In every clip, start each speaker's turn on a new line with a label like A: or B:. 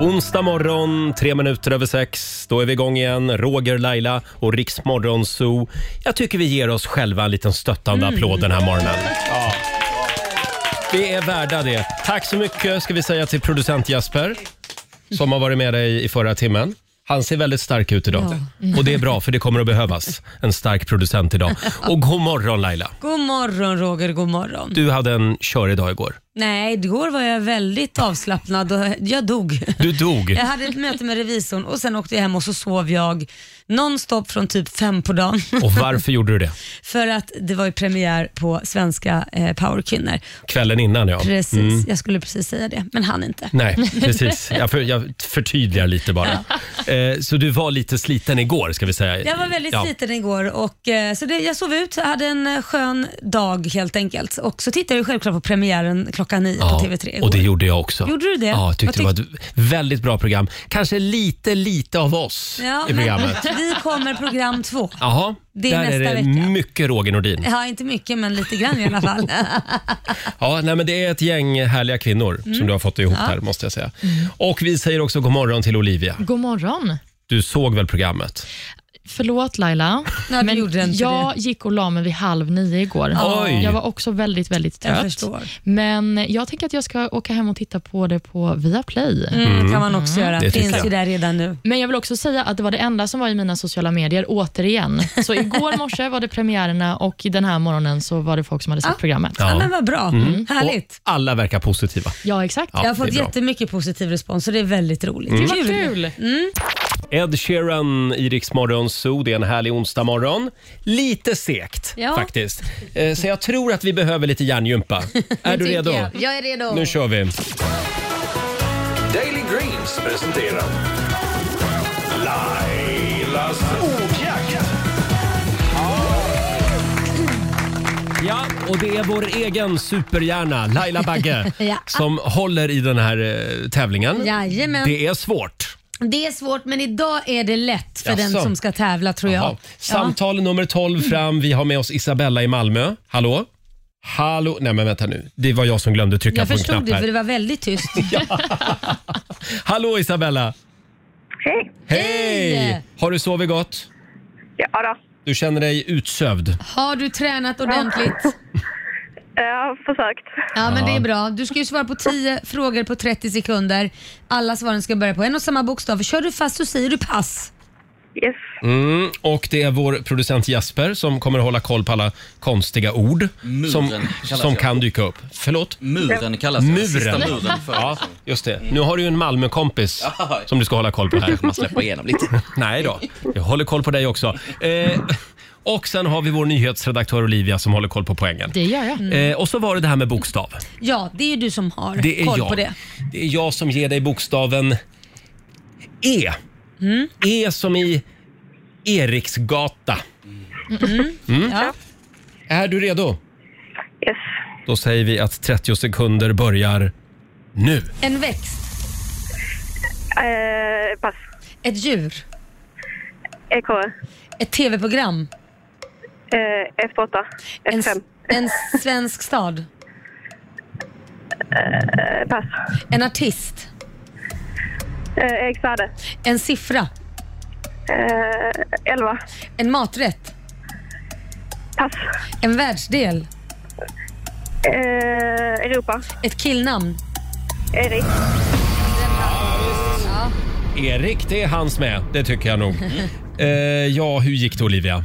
A: Onsdag morgon, tre minuter över sex. Då är vi igång igen. Roger, Laila och Riks Morgonzoo. Jag tycker vi ger oss själva en liten stöttande applåd den här morgonen. Ja. Vi är värda det. Tack så mycket ska vi säga till producent Jasper som har varit med dig i förra timmen. Han ser väldigt stark ut idag. Och det är bra för det kommer att behövas en stark producent idag. Och god morgon Laila.
B: God morgon Roger, god morgon.
A: Du hade en körig dag igår.
B: Nej, igår var jag väldigt avslappnad och jag dog.
A: Du dog.
B: Jag hade ett möte med revisorn och sen åkte jag hem och så sov jag nonstop från typ fem på dagen.
A: Och varför gjorde du det?
B: För att det var ju premiär på svenska eh, powerkvinnor.
A: Kvällen innan ja.
B: Precis,
A: Mm.
B: jag skulle precis säga det, men han inte.
A: Nej, precis. Jag, för, jag förtydligar lite bara. Eh, så du var lite sliten igår ska vi säga.
B: Jag var väldigt
A: Ja.
B: sliten igår och eh, så det, jag sov ut, jag hade en eh, skön dag helt enkelt. Och så tittade jag ju självklart på premiären klockan nio
A: Ja,
B: på TV3 igår.
A: och det gjorde jag också.
B: Gjorde du det?
A: Ja, jag tyckte det
B: Vad
A: var ett väldigt bra program. Kanske lite, lite av oss
B: Ja,
A: i
B: men
A: programmet.
B: Vi kommer program två.
A: Jaha,
B: Det är
A: där är det
B: nästa vecka.
A: mycket Roger Nordin.
B: Ja, inte mycket men lite grann i alla fall.
A: Ja, nej, men det är ett gäng härliga kvinnor som du har fått ihop
B: Mm. Ja. Mm.
A: här måste jag säga. Och vi säger också god morgon till Olivia.
C: God morgon.
A: Du såg väl programmet?
C: Förlåt Laila,
B: Nej, men gjorde inte
C: jag gick och la mig vid halv nio igår.
A: Oj.
C: Jag var också väldigt, väldigt
B: det. Jag
C: trött.
B: förstår.
C: men jag tänker att jag ska åka hem och titta på det på Viaplay.
B: Mm, kan man också göra.
A: Det tycker
B: Finns
A: jag.
B: ju där redan nu.
C: Men jag vill också säga att det var det enda som var i mina sociala medier, återigen. Så igår morse var det premiärerna och den här morgonen så var det folk som hade sett
B: Ja.
C: programmet.
B: Ja. men vad bra. Mm.
A: Och
B: Härligt.
A: alla verkar positiva.
C: Ja, exakt.
A: Mm. Ja,
B: jag har fått
A: det är bra. Mm.
B: jättemycket positiv respons och det är väldigt roligt.
C: Gud, vad kul.
B: Mm.
A: Ed Sheeran i Rix Morgon Zoo. Det är en härlig onsdag morgon. Lite segt
B: Ja.
A: faktiskt. Eh, Så jag tror att vi behöver lite hjärngympa. Är du redo?
B: Jag är redo.
A: Nu kör vi.
D: Daily Greens presenterar Lailas ordjakt.
A: Ja, och det är vår egen superhjärna Laila Bagge
B: Ja.
A: som håller i den här eh, tävlingen.
B: Jajamän.
A: Det är svårt.
B: Det är svårt men idag är det lätt för
A: Jaså?
B: den som ska tävla tror jag.
A: Ja. Samtal nummer 12 fram. Vi har med oss Isabella i Malmö. Hallå? Hallå? Nej men vänta nu. Det var jag som glömde trycka
B: Jag
A: på en
B: förstod
A: knapp
B: det
A: här.
B: för det var väldigt tyst.
A: Hallå Isabella!
E: Hej.
A: Hej!
B: Hej!
A: Har du sovit gott?
E: Ja då.
A: Du känner dig utsövd.
B: Har du tränat ordentligt?
E: Jag har försökt.
B: Ja men
A: Ja.
B: det är bra. Du ska ju svara på 10 frågor på 30 sekunder. Alla svaren ska börja på en och samma bokstav. Kör du fast så säger du pass.
E: Yes.
A: Mm, och det är vår producent Jasper som kommer att hålla koll på alla konstiga ord
F: Muren
A: som,
F: kallas
A: som
F: jag.
A: kan dyka upp. Förlåt?
F: Muren kallas det.
A: Muren.
F: Sista muren för
A: Ja, just det. Nu har du ju en Malmökompis
F: Ja.
A: som du ska hålla koll på här.
F: Man släpper igenom lite.
A: Nej då, jag håller koll på dig också. Eh, och sen har vi vår nyhetsredaktör Olivia som håller koll på poängen.
C: Det gör jag.
B: Mm.
A: Eh, och så var det det här med bokstav.
B: Ja, det är ju du som har
A: Det är
B: koll
A: jag.
B: på det.
A: Det är jag som ger dig bokstaven E. E som i Eriksgata. Mm.
B: Ja.
A: Är du redo?
E: Yes.
A: Då säger vi att 30 sekunder börjar nu.
B: En växt,
E: Eh, pass. E
B: ett djur,
E: Ekorre.
B: ett tv-program,
E: Eh, F8.
B: en,
E: F5.
B: en svensk stad,
E: Eh, pass.
B: en artist,
E: Eh, Erik Saade.
B: en siffra,
E: Eh, 11.
B: en maträtt,
E: Pass.
B: en världsdel,
E: Eh, Europa.
B: ett killnamn.
E: Erik.
A: Erik, det är hans med. Det tycker jag nog. Eh, ja, hur gick det Olivia?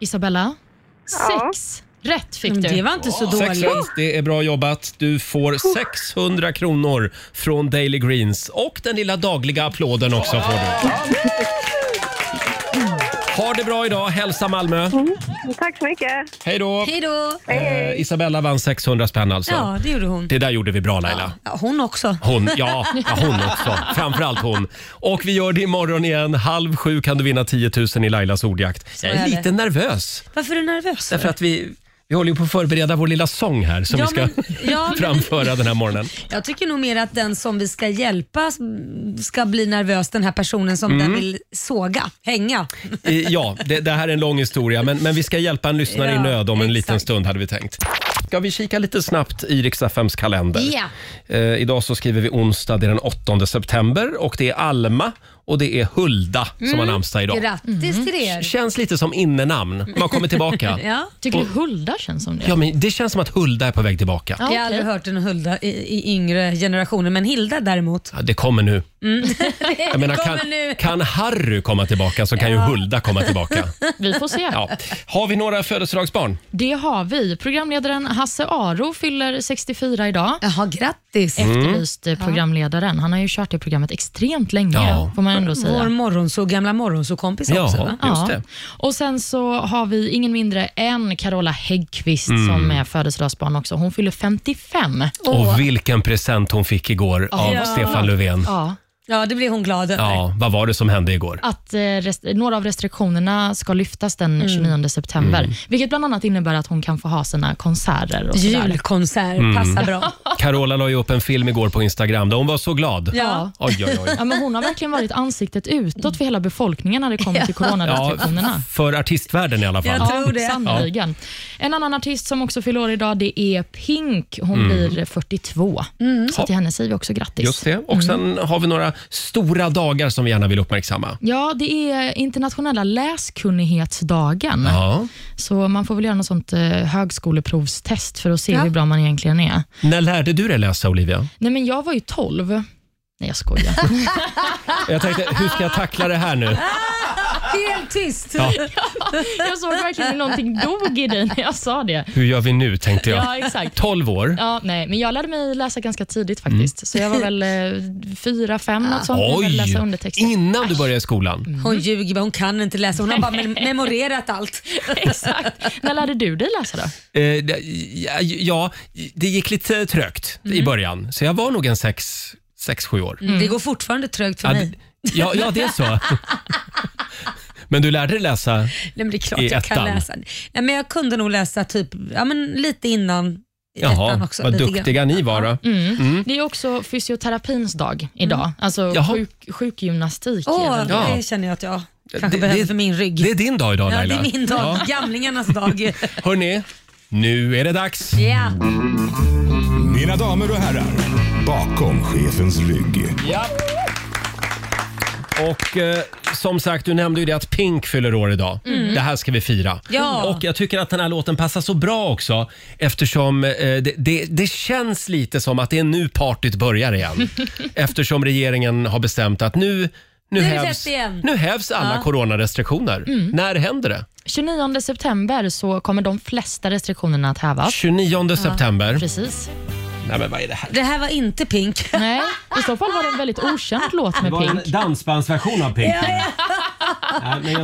C: Isabella,
E: Ja.
C: sex rätt fick
B: Men
C: du.
B: Det var inte så
A: Sex
B: dåligt.
A: rätt. Det är bra jobbat. Du får 600 kronor från Daily Greens och den lilla dagliga applåden också får du. Ha det bra idag. Hälsa Malmö.
E: Tack så mycket.
A: Hej då.
B: Hej då!
A: Eh, Isabella vann 600 spänn alltså.
B: Ja, det gjorde hon.
A: Det där gjorde vi bra Laila.
B: Ja, hon också.
A: Hon, ja, ja, hon också. Framförallt hon. Och vi gör det imorgon igen. Halv sju kan du vinna 10 000 i Lailas ordjakt. Jag
B: är
A: är
B: det.
A: lite nervös
B: Varför är du nervös?
A: därför att vi, Vi håller ju på att förbereda vår lilla sång här som
B: Ja,
A: vi ska
B: men- ja, men-
A: framföra den här morgonen.
B: Jag tycker nog mer att den som vi ska hjälpa mm, ska bli nervös, den här personen som
A: Mm.
B: den vill såga, hänga.
A: Eh, Ja, det, det här är en lång historia, men, men vi ska hjälpa en lyssnare i
B: Ja,
A: nöd om en liten
B: exakt.
A: stund hade vi tänkt. Ska vi kika lite snabbt i Riks-FMs kalender?
B: Ja.
A: Eh, idag så skriver vi onsdag, det är den 8 september och det är Alma och det är Hulda som
B: Mm.
A: har namnsdag idag.
B: Grattis till er.
A: Känns lite som innenamn, man kommer tillbaka.
B: Ja.
C: Tycker du Hulda känns som det?
A: Ja, men det känns som att Hulda är på väg tillbaka.
C: Ja,
B: Jag har aldrig
C: okej.
B: hört en Hulda i, i yngre generationer, men Hilda däremot.
A: Ja, det kommer nu. Jag menar,
B: Mm. kommer
A: kan,
B: nu.
A: kan Harry komma tillbaka så kan ju Hulda komma tillbaka.
C: Vi får se.
A: Ja. Har vi några födelsedagsbarn?
C: Det har vi. Programledaren Hasse Aro fyller 64 idag.
A: Mm.
B: Jaha, grattis.
C: Efterlyst eh, programledaren. Han har ju kört det programmet extremt länge,
A: Ja.
C: får man ändå
B: Vår
C: säga.
B: morgonså, gamla morgonsåkompis också. Va?
A: Ja, just det.
C: Och Sen så har vi ingen mindre än Carola Häggkvist
A: Mm.
C: som är födelsedagsbarn också. Hon fyller 55.
A: Och vilken present hon fick igår av
C: Ja.
A: Stefan Löfven.
C: Ja.
B: Ja, det blir hon glad över.
A: Ja, vad var det som hände igår?
C: Att eh, rest- några av restriktionerna ska lyftas
A: Mm.
C: den 29 september, vilket bland annat innebär att hon kan få ha sina konserter. Och sådär.
B: Julkonsert
A: Mm.
B: passar bra.
A: Carola la ju upp en film igår på Instagram där hon var så glad.
B: Ja.
A: Oj, oj, oj.
C: Ja, men hon har verkligen varit ansiktet utåt för hela befolkningen när det kommer till
A: Ja,
C: coronarestriktionerna.
A: för artistvärlden i alla fall.
B: Jag tror- det.
C: sannerligen. En annan artist som också fyller år idag det är Pink. Hon blir 42.
B: Mm.
C: Så till henne säger vi också grattis.
A: Mm. Just det.
C: Mm.
A: Och sen har vi några stora dagar som vi gärna vill uppmärksamma.
C: Ja, det är internationella läskunnighetsdagen.
A: Ja.
C: Så man får väl göra något sånt eh, högskoleprovstest för att se hur bra man egentligen är.
A: När lärde du dig läsa, Olivia?
C: Nej, men jag var ju 12. Nej, jag skojar.
A: Jag tänkte, hur ska jag tackla det här nu?
B: Helt tyst.
A: Ja.
C: jag såg verkligen hur någonting dog i dig när jag sa det.
A: Hur gör vi nu, tänkte
C: Ja,
A: jag.
C: exakt.
A: 12 år?
C: Ja, nej, men jag lärde mig läsa ganska tidigt faktiskt. Så jag var väl eh, fyra, fem, något sånt. när jag började
A: Oj!
C: läsa undertexter.
A: Innan du började i skolan?
B: Hon ljuger bara, hon kan inte läsa. Hon har bara mem- memorerat allt.
C: Exakt. När lärde du dig läsa då?
A: Eh, det- ja, ja, det gick lite trögt
B: Mm.
A: i början, så jag var nog en sex, sex sju år.
B: Det går fortfarande trögt för
A: Ja,
B: mig.
A: d- ja, ja, det är så. Men du lärde dig läsa?
B: Nej, men det är klart
A: i
B: jag kan
A: ettan?
B: läsa. Nej, men jag kunde nog läsa typ, ja, men lite innan i ettan
A: Jaha,
B: också.
A: vad
B: lite mm.
A: duktiga ni var då.
C: Det är också fysioterapins dag idag. Alltså
A: Mm. Jaha.
C: sjuk, sjukgymnastik.
B: Åh,
C: är väl-
A: Ja.
B: det känner jag att jag kanske
A: Det-
B: behöver
A: det-
B: för min rygg.
A: Det är din dag idag
B: ja, det
A: Laila.
B: är min dag. Gamlingarnas dag.
A: Hörni, nu är det dags.
B: Ja.
D: Mina damer och herrar, bakom chefens rygg.
A: Ja. Och eh, som sagt, du nämnde ju det att Pink fyller år idag. Det här ska vi fira.
B: Mm. Ja.
A: Och jag tycker att den här låten passar så bra också eftersom eh, det, det, det känns lite som att det är nu partyt börjar igen. eftersom regeringen har bestämt att nu nu,
B: är det
A: hävs,
B: släppt igen. Mm.
A: nu hävs alla coronarestriktioner. När händer det?
C: 29 september så kommer de flesta restriktionerna att hävas.
A: 29 september.
C: Precis.
A: Nej, men vad är det här?
B: Det här var inte Pink.
C: Nej, i så fall var det en väldigt okänd låt med Pink.
A: dansbandsversion av Pink.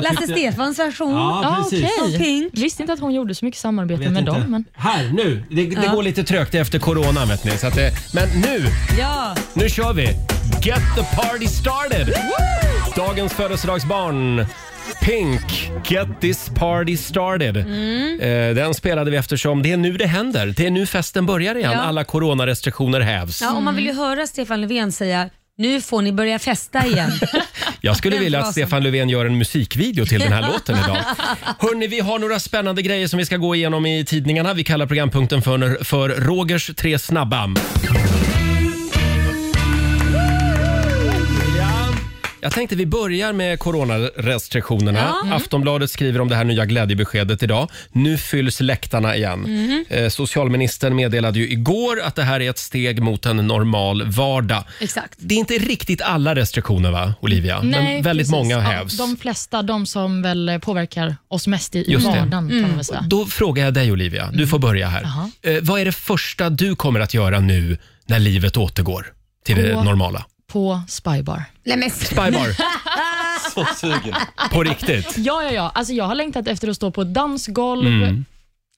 B: Lasse Stefans version
C: Ja,
B: Som
C: okej.
B: Pink.
C: Visste inte att hon gjorde så mycket samarbete med dem. Men...
A: Här, nu. Det, det går lite trögt efter corona vet ni. Så att det, men nu,
B: Ja.
A: nu kör vi! Get the party started! Dagens födelsedagsbarn. Pink, Get this party started. Eh, den spelade vi eftersom det är nu det händer. Det är nu festen börjar igen.
B: Ja.
A: Alla coronarestriktioner hävs.
B: ja, och man vill ju höra Stefan Löfven säga nu får ni börja festa igen.
A: Jag skulle
B: Den
A: vilja att
B: frasen.
A: Stefan Löfven gör en musikvideo till den här låten idag. Hörni, vi har några spännande grejer som vi ska gå igenom i tidningarna. Vi kallar programpunkten för, för Rogers tre snabba. Ja, Jag tänkte vi börjar med coronarestriktionerna. Aftonbladet skriver om det här nya glädjebeskedet idag. Nu fylls läktarna igen. Eh, socialministern meddelade ju igår att det här är ett steg mot en normal vardag.
B: Exakt.
A: Det är inte riktigt alla restriktioner, va, Olivia? Men väldigt
C: precis.
A: många
C: Ja,
A: hävs.
C: De flesta, de som väl påverkar oss mest i
A: Just det. Mm.
C: vardagen kan man väl säga.
A: Då frågar jag dig, Olivia. Du får börja här.
C: Jaha.
A: Eh, vad är det första du kommer att göra nu när livet återgår till det
C: Gå.
A: normala?
C: På Spybar.
B: Nej, men,
A: Spybar. Så sugen. På riktigt?
C: Ja, ja, ja. Alltså, jag har längtat efter att stå på ett dansgolv.
A: Mm.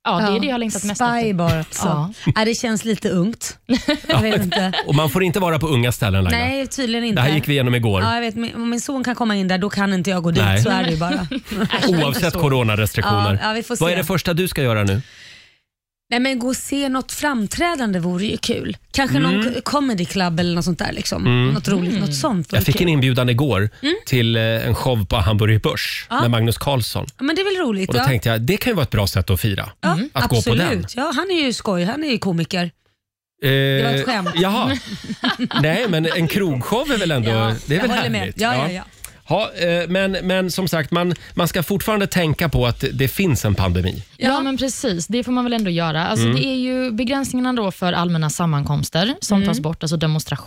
C: Ja, det är det jag har längtat mest
B: Spy
C: efter.
B: bara också.
C: Ja.
B: Ja, det känns lite ungt. Jag vet inte.
A: Och man får inte vara på unga ställen, Laila.
B: Nej, tydligen inte.
A: Det här gick vi igenom igår.
B: Ja, jag vet, min- om min son kan komma in där, då kan inte jag gå dit.
A: Nej.
B: Så är det ju bara.
A: Oavsett coronarestriktioner.
B: Ja, ja, vi får
A: Vad
B: se.
A: är det första du ska göra nu?
B: Nej men gå och se något framträdande vore ju kul. Kanske någon co- comedy club eller något sånt där. Liksom. Något roligt, något sånt. vore
A: Jag fick
B: kul.
A: en inbjudan igår
B: Mm.
A: till eh, en show på Hamburg Börs med Magnus Carlsson.
B: Ja, men det är väl roligt?
A: Och då
B: ja.
A: tänkte jag, det kan ju vara ett bra sätt att fira.
B: ja,
A: Mhm. att gå på
B: absolut.
A: den.
B: Ja, han är ju skoj, han är ju komiker.
A: det
B: var ett skämt.
A: Eh, Jaha. Nej, men en krogshow är väl ändå
B: Ja,
A: det är
B: jag
A: väl
B: håller
A: härligt?
B: med. Ja, ja, ja.
A: Ja, eh, men, men som sagt, man, man ska fortfarande tänka på att det- det finns en pandemi.
C: Ja. men precis. Det får man väl ändå göra. Alltså,
A: Mm.
C: Det är ju begränsningarna då för allmänna sammankomster som
A: Mm.
C: tas bort, alltså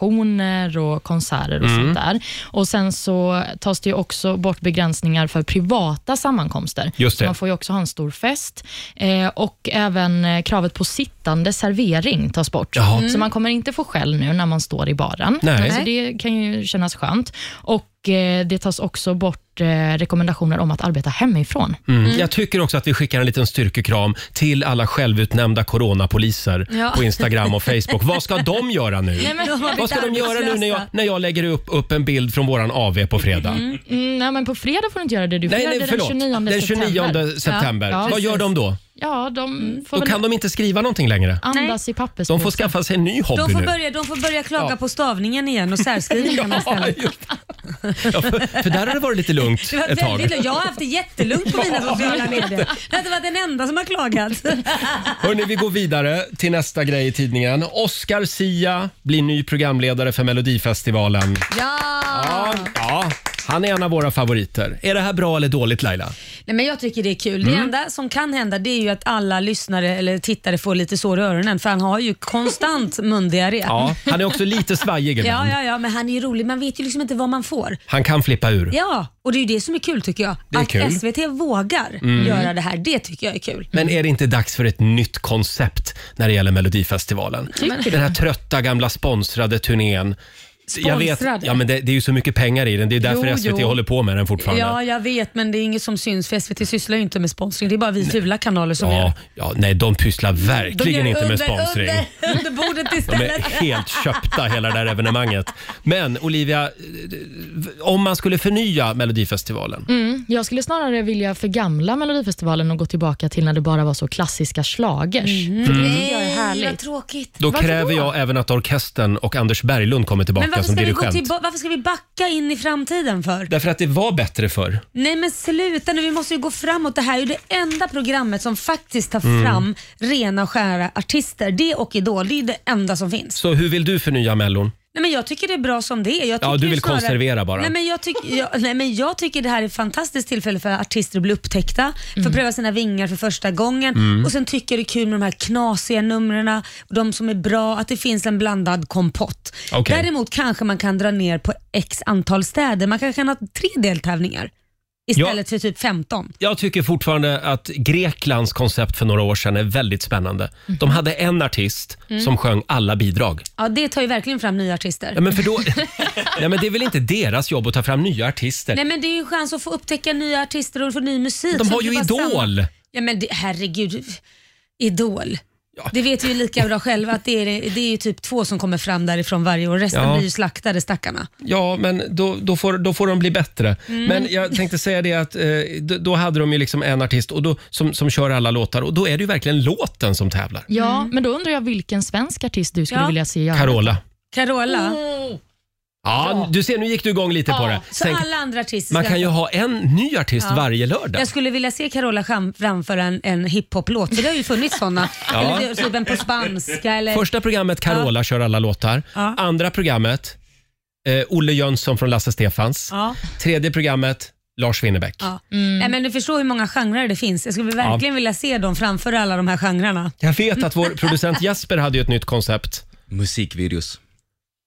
C: demonstrationer och konserter och sånt där. Och Sen så tas det ju också bort begränsningar för privata sammankomster.
A: Just det.
C: Man får ju också ha en stor fest. Eh, och även eh, kravet på sittande servering tas bort.
A: Jaha.
C: Så man kommer inte få skäll nu när man står i baren.
A: Nej.
C: Så det kan ju kännas skönt. Och eh, Det tas också bort eh, rekommendationer om att arbeta hemifrån.
A: Mm. Jag tycker också att vi skickar en liten styrkekram till alla självutnämnda coronapoliser
B: Ja.
A: på Instagram och Facebook. Vad ska de göra nu?
C: men-
B: De har
A: Vad ska de
B: blivit
A: göra nu när jag,
B: arbetslösa. Mm-hmm.
A: när jag lägger upp, upp en bild från våran AV på fredag?
C: Mm, nej, men på fredag får du inte göra det. Du får
A: Nej,
C: göra
A: nej,
C: det
A: förlåt.
C: den 29
A: Den 29 september.
C: september. Ja,
A: Vad
C: precis.
A: gör de då?
C: Ja, de får
A: Då
C: väl
A: kan de inte skriva någonting längre.
C: andas i papperspåsen.
A: De får skaffa sig en ny hobby
B: De får,
A: nu.
B: börja, de får börja klaga på stavningen igen och särskrivningarna
A: Ja,
B: istället.
A: just det. ja, för, för där har det varit lite lugnt
B: Det var
A: ett tag.
B: väldigt lugnt. Jag har haft det jättelugnt på mina sociala medier. Jag har inte varit den enda som har klagat.
A: Hörrni, vi går vidare till nästa grej i tidningen. Oscar Sia blir ny programledare för Melodifestivalen.
B: Ja!
A: Ja, ja, han är en av våra favoriter. Är det här bra eller dåligt Laila?
B: Nej, men jag tycker det är kul.
A: Mm.
B: Det enda som kan hända det är ju att alla lyssnare eller tittare får lite sår i öronen för han har ju konstant mundiarré.
A: Ja, han är också lite svajig
B: Ja,
A: ibland.
B: ja, ja, men han är ju rolig. Man vet ju liksom inte vad man får.
A: Han kan flippa ur.
B: Ja, och det är ju det som är kul tycker jag.
A: Det är
B: att
A: kul. Mm.
B: SVT vågar göra det här, det tycker jag är kul.
A: Men är det inte dags för ett nytt koncept när det gäller Melodifestivalen? Den här trötta gamla sponsrade turnén. Jag vet,
B: Sponsrade?
A: ja, men det, det är ju så mycket pengar i den. Det är därför
B: Jo,
A: SVT
B: jo.
A: håller på med den fortfarande.
B: Ja, jag vet, men det är inget som syns för SVT sysslar ju inte med sponsring. Det är bara vi fula kanaler som gör
A: Ja,
B: det.
A: ja, nej, de pysslar
B: De
A: verkligen
B: gör
A: inte med
B: under-
A: sponsring.
B: Under, under bordet
A: De
B: istället.
A: är helt köpta hela det där evenemanget. Men Olivia, eh, om man skulle förnya Melodifestivalen.
C: Mm, jag skulle snarare vilja förgamla Melodifestivalen och gå tillbaka till när det bara var så klassiska schlagers.
A: Mm.
C: För det gör
B: Nej, vad
C: härligt.
B: tråkigt.
A: Då
C: Varför
A: kräver
C: då?
A: jag även att orkestern och Anders Berglund kommer
B: Men
A: tillbaka
B: varför
A: som
B: ska, vi gå
A: dirigent.
B: till, varför ska vi backa in i framtiden för?
A: Därför att det var bättre förr.
B: Nej men sluta nu, vi måste ju gå framåt. Det här är ju det enda programmet som faktiskt tar
A: Mm.
B: fram rena och skära artister. Det och Idol, det är det enda som finns.
A: Så hur vill du förnya Mellon?
B: Nej, men jag tycker det är bra som det är. Jag
A: Ja,
B: tycker
A: du
B: ju
A: vill konservera bara.
B: Nej men, jag tyck, jag, nej, men jag tycker det här är ett fantastiskt tillfälle för artister att bli upptäckta, få
A: Mm.
B: pröva sina vingar för första gången och sen tycker jag det är kul med de här knasiga numren, de som är bra, att det finns en blandad kompott.
A: Okej.
B: Däremot kanske man kan dra ner på x antal städer. Man kanske kan ha tre deltävlingar istället för typ 15.
A: Jag tycker fortfarande att Greklands koncept för några år sedan är väldigt spännande.
B: Mhm.
A: De hade en artist
B: Mm.
A: som sjöng alla bidrag.
B: Ja, det tar ju verkligen fram nya artister.
A: Ja, men för då, nej, men det är väl inte deras jobb att ta fram nya artister?
B: Nej men det är ju en chans att få upptäcka nya artister och få ny musik.
A: De
B: som
A: har
B: kan
A: ju
B: vara samma-
A: Idol!
B: Ja men det, herregud, Idol. Det vet vi ju lika bra själva att det är, det är ju typ två som kommer fram därifrån varje år. Resten
A: Ja.
B: blir ju slaktade stackarna.
A: Ja, men då, då, får, då får de bli bättre.
B: Mm.
A: Men jag tänkte säga det att eh, d- då hade de ju liksom en artist och då, som, som kör alla låtar och då är det ju verkligen låten som tävlar.
C: Ja, men då undrar jag vilken svensk artist du skulle
B: Ja.
C: vilja se göra
A: Carola.
B: Carola,
C: Mm.
A: Oh! Ja, du ser, nu gick du igång lite på det.
B: så
A: Tänk,
B: alla andra artister
A: man
B: ska-
A: kan ju ha en ny artist varje lördag.
B: Jag skulle vilja se Carola fram- framföra en, en hiphop-låt, för det har ju funnits sådana.
A: Ja.
B: Eller typ en på spanska eller...
A: Första programmet Carola kör alla låtar.
B: Ja.
A: Andra programmet eh, Olle Jönsson från Lasse Stefans.
B: Ja.
A: Tredje programmet Lars Winnerbäck.
B: Ja. Nej, men du förstår hur många genrer det finns. Jag skulle verkligen vilja se dem framföra alla de här genrerna.
A: Jag vet att vår producent Jasper hade ju ett nytt koncept
F: Musikvideos.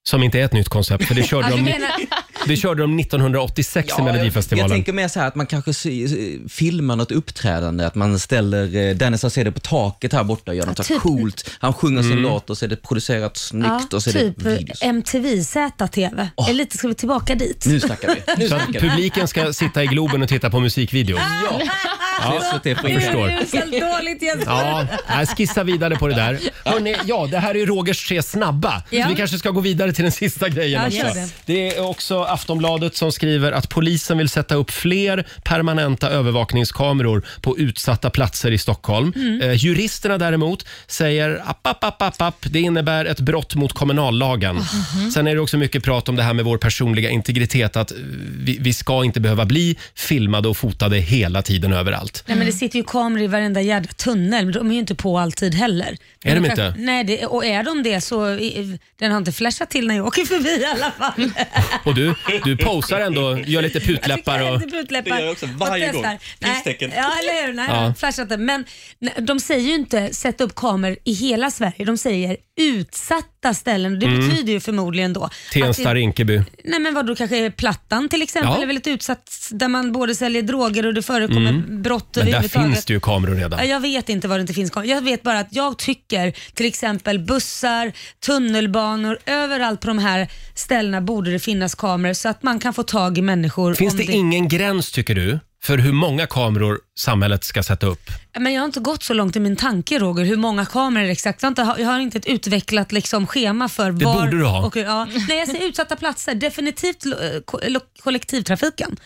A: som inte är ett nytt koncept för det körde
B: Alltså,
A: de
B: du menar,
A: Det körde de 1986 i Melodifestivalen.
F: Jag tänker mer så här att man kanske sy- filmar något uppträdande, att man ställer eh, Dennis han ser det på taket här borta och gör något så här
B: Typ.
F: coolt. Han sjunger sin låt och så är det producerat snyggt och så är
B: typ
F: det videos.
B: MTV Z-TV. Eller lite ska vi tillbaka dit.
F: Nu snackar vi. Nu
A: Så
F: snackar
A: att
F: vi.
B: Ah,
A: publiken ska sitta i Globen och titta på musikvideos.
F: Ja. Ja, så det får
A: jag
F: inte-
A: förstår.
B: Uruselt dåligt Jesper.
A: Ja, nej, skissa vidare på det där. Hörrni, ja, det här är Rogers tre snabba.
B: Ja.
A: Vi kanske ska gå vidare till den sista grejen
B: Ja,
A: också.
B: gör det.
A: Det är också Aftonbladet som skriver att polisen vill sätta upp fler permanenta övervakningskameror på utsatta platser i Stockholm.
B: Mm.
A: Eh, juristerna däremot säger app, app, app, app, app, det innebär ett brott mot
B: Ah,
A: kommunallagen. Sen är det också mycket prat om det här med vår personliga integritet, att eh, vi, vi ska inte behöva bli filmade och fotade hela tiden överallt.
B: Nej, men det sitter ju kameror i varenda jädra tunnel, men de är ju inte på alltid heller.
A: Är de
B: Men
A: inte?
B: kanske- Nej, det, och är de det så i- den har inte flashat till när jag åker förbi i alla
A: Mm.
B: fall.
A: Och du, du posar ändå, gör lite putläppar och...
B: Jag tycker jag är lite brutläppar.
G: Det gör jag också varje
B: Och testar.
G: gång. Pristecken.
B: Nej, ja, eller hur? Nej,
A: Ja.
B: ja. flashat det. Men nej, de säger ju inte sätta upp kameror i hela Sverige. De säger utsatta ställen. Det
A: Mm.
B: betyder ju förmodligen då... att
A: Tensta,
B: det-
A: Rinkeby.
B: Nej men vadå, kanske Plattan till exempel
A: Ja.
B: är väl ett utsatt där man både säljer droger och det förekommer brott
A: Mm. Men där
B: överhuvudtaget.
A: finns det ju kameror redan.
B: Ja, Jag vet inte vad det inte finns kameror. Jag vet bara att jag tycker till exempel bussar, tunnelbanor, överallt på de här ställena borde det finnas kameror så att man kan få tag i människor.
A: Finns
B: om
A: det ingen gräns, tycker du, för hur många kameror samhället ska sätta upp?
B: Men jag har inte gått så långt i min tanke Roger, hur många kameror exakt. Jag har inte, jag har inte ett utvecklat liksom, schema för
A: Det
B: var...
A: borde du ha.
B: Och, hur- ja. Nej, jag säger utsatta platser. Definitivt lo- eh, ko- lo- kollektivtrafiken.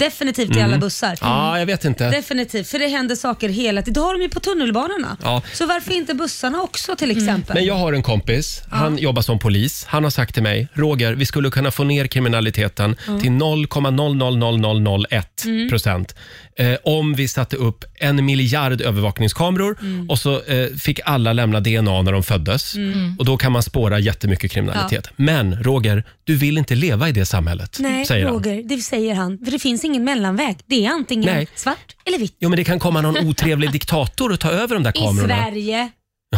B: Definitivt i
A: Mm.
B: alla bussar.
A: Ja, Ah, jag vet inte.
B: Definitivt, för det händer saker hela tiden. Det har de ju på tunnelbanorna.
A: Ja. Mm.
B: Så varför inte bussarna också till exempel?
A: Men jag har en kompis, han jobbar som polis. Han har sagt till mig, Roger, vi skulle kunna få ner kriminaliteten till
B: Mm.
A: 0,000001 procent eh, om vi satte upp en miljard övervakningskameror
B: Mm.
A: och så eh, fick alla lämna DNA när de föddes.
B: Mm.
A: Och då kan man spåra jättemycket kriminalitet. Men Roger, du vill inte leva i det samhället,
B: Nej,
A: säger han.
B: Roger, det säger han. För det finns ingen mellanväg. Det är antingen
A: Nej.
B: svart eller vitt.
A: Jo, men det kan komma någon otrevlig diktator och ta över de där
B: I
A: kamerorna.
B: Sverige,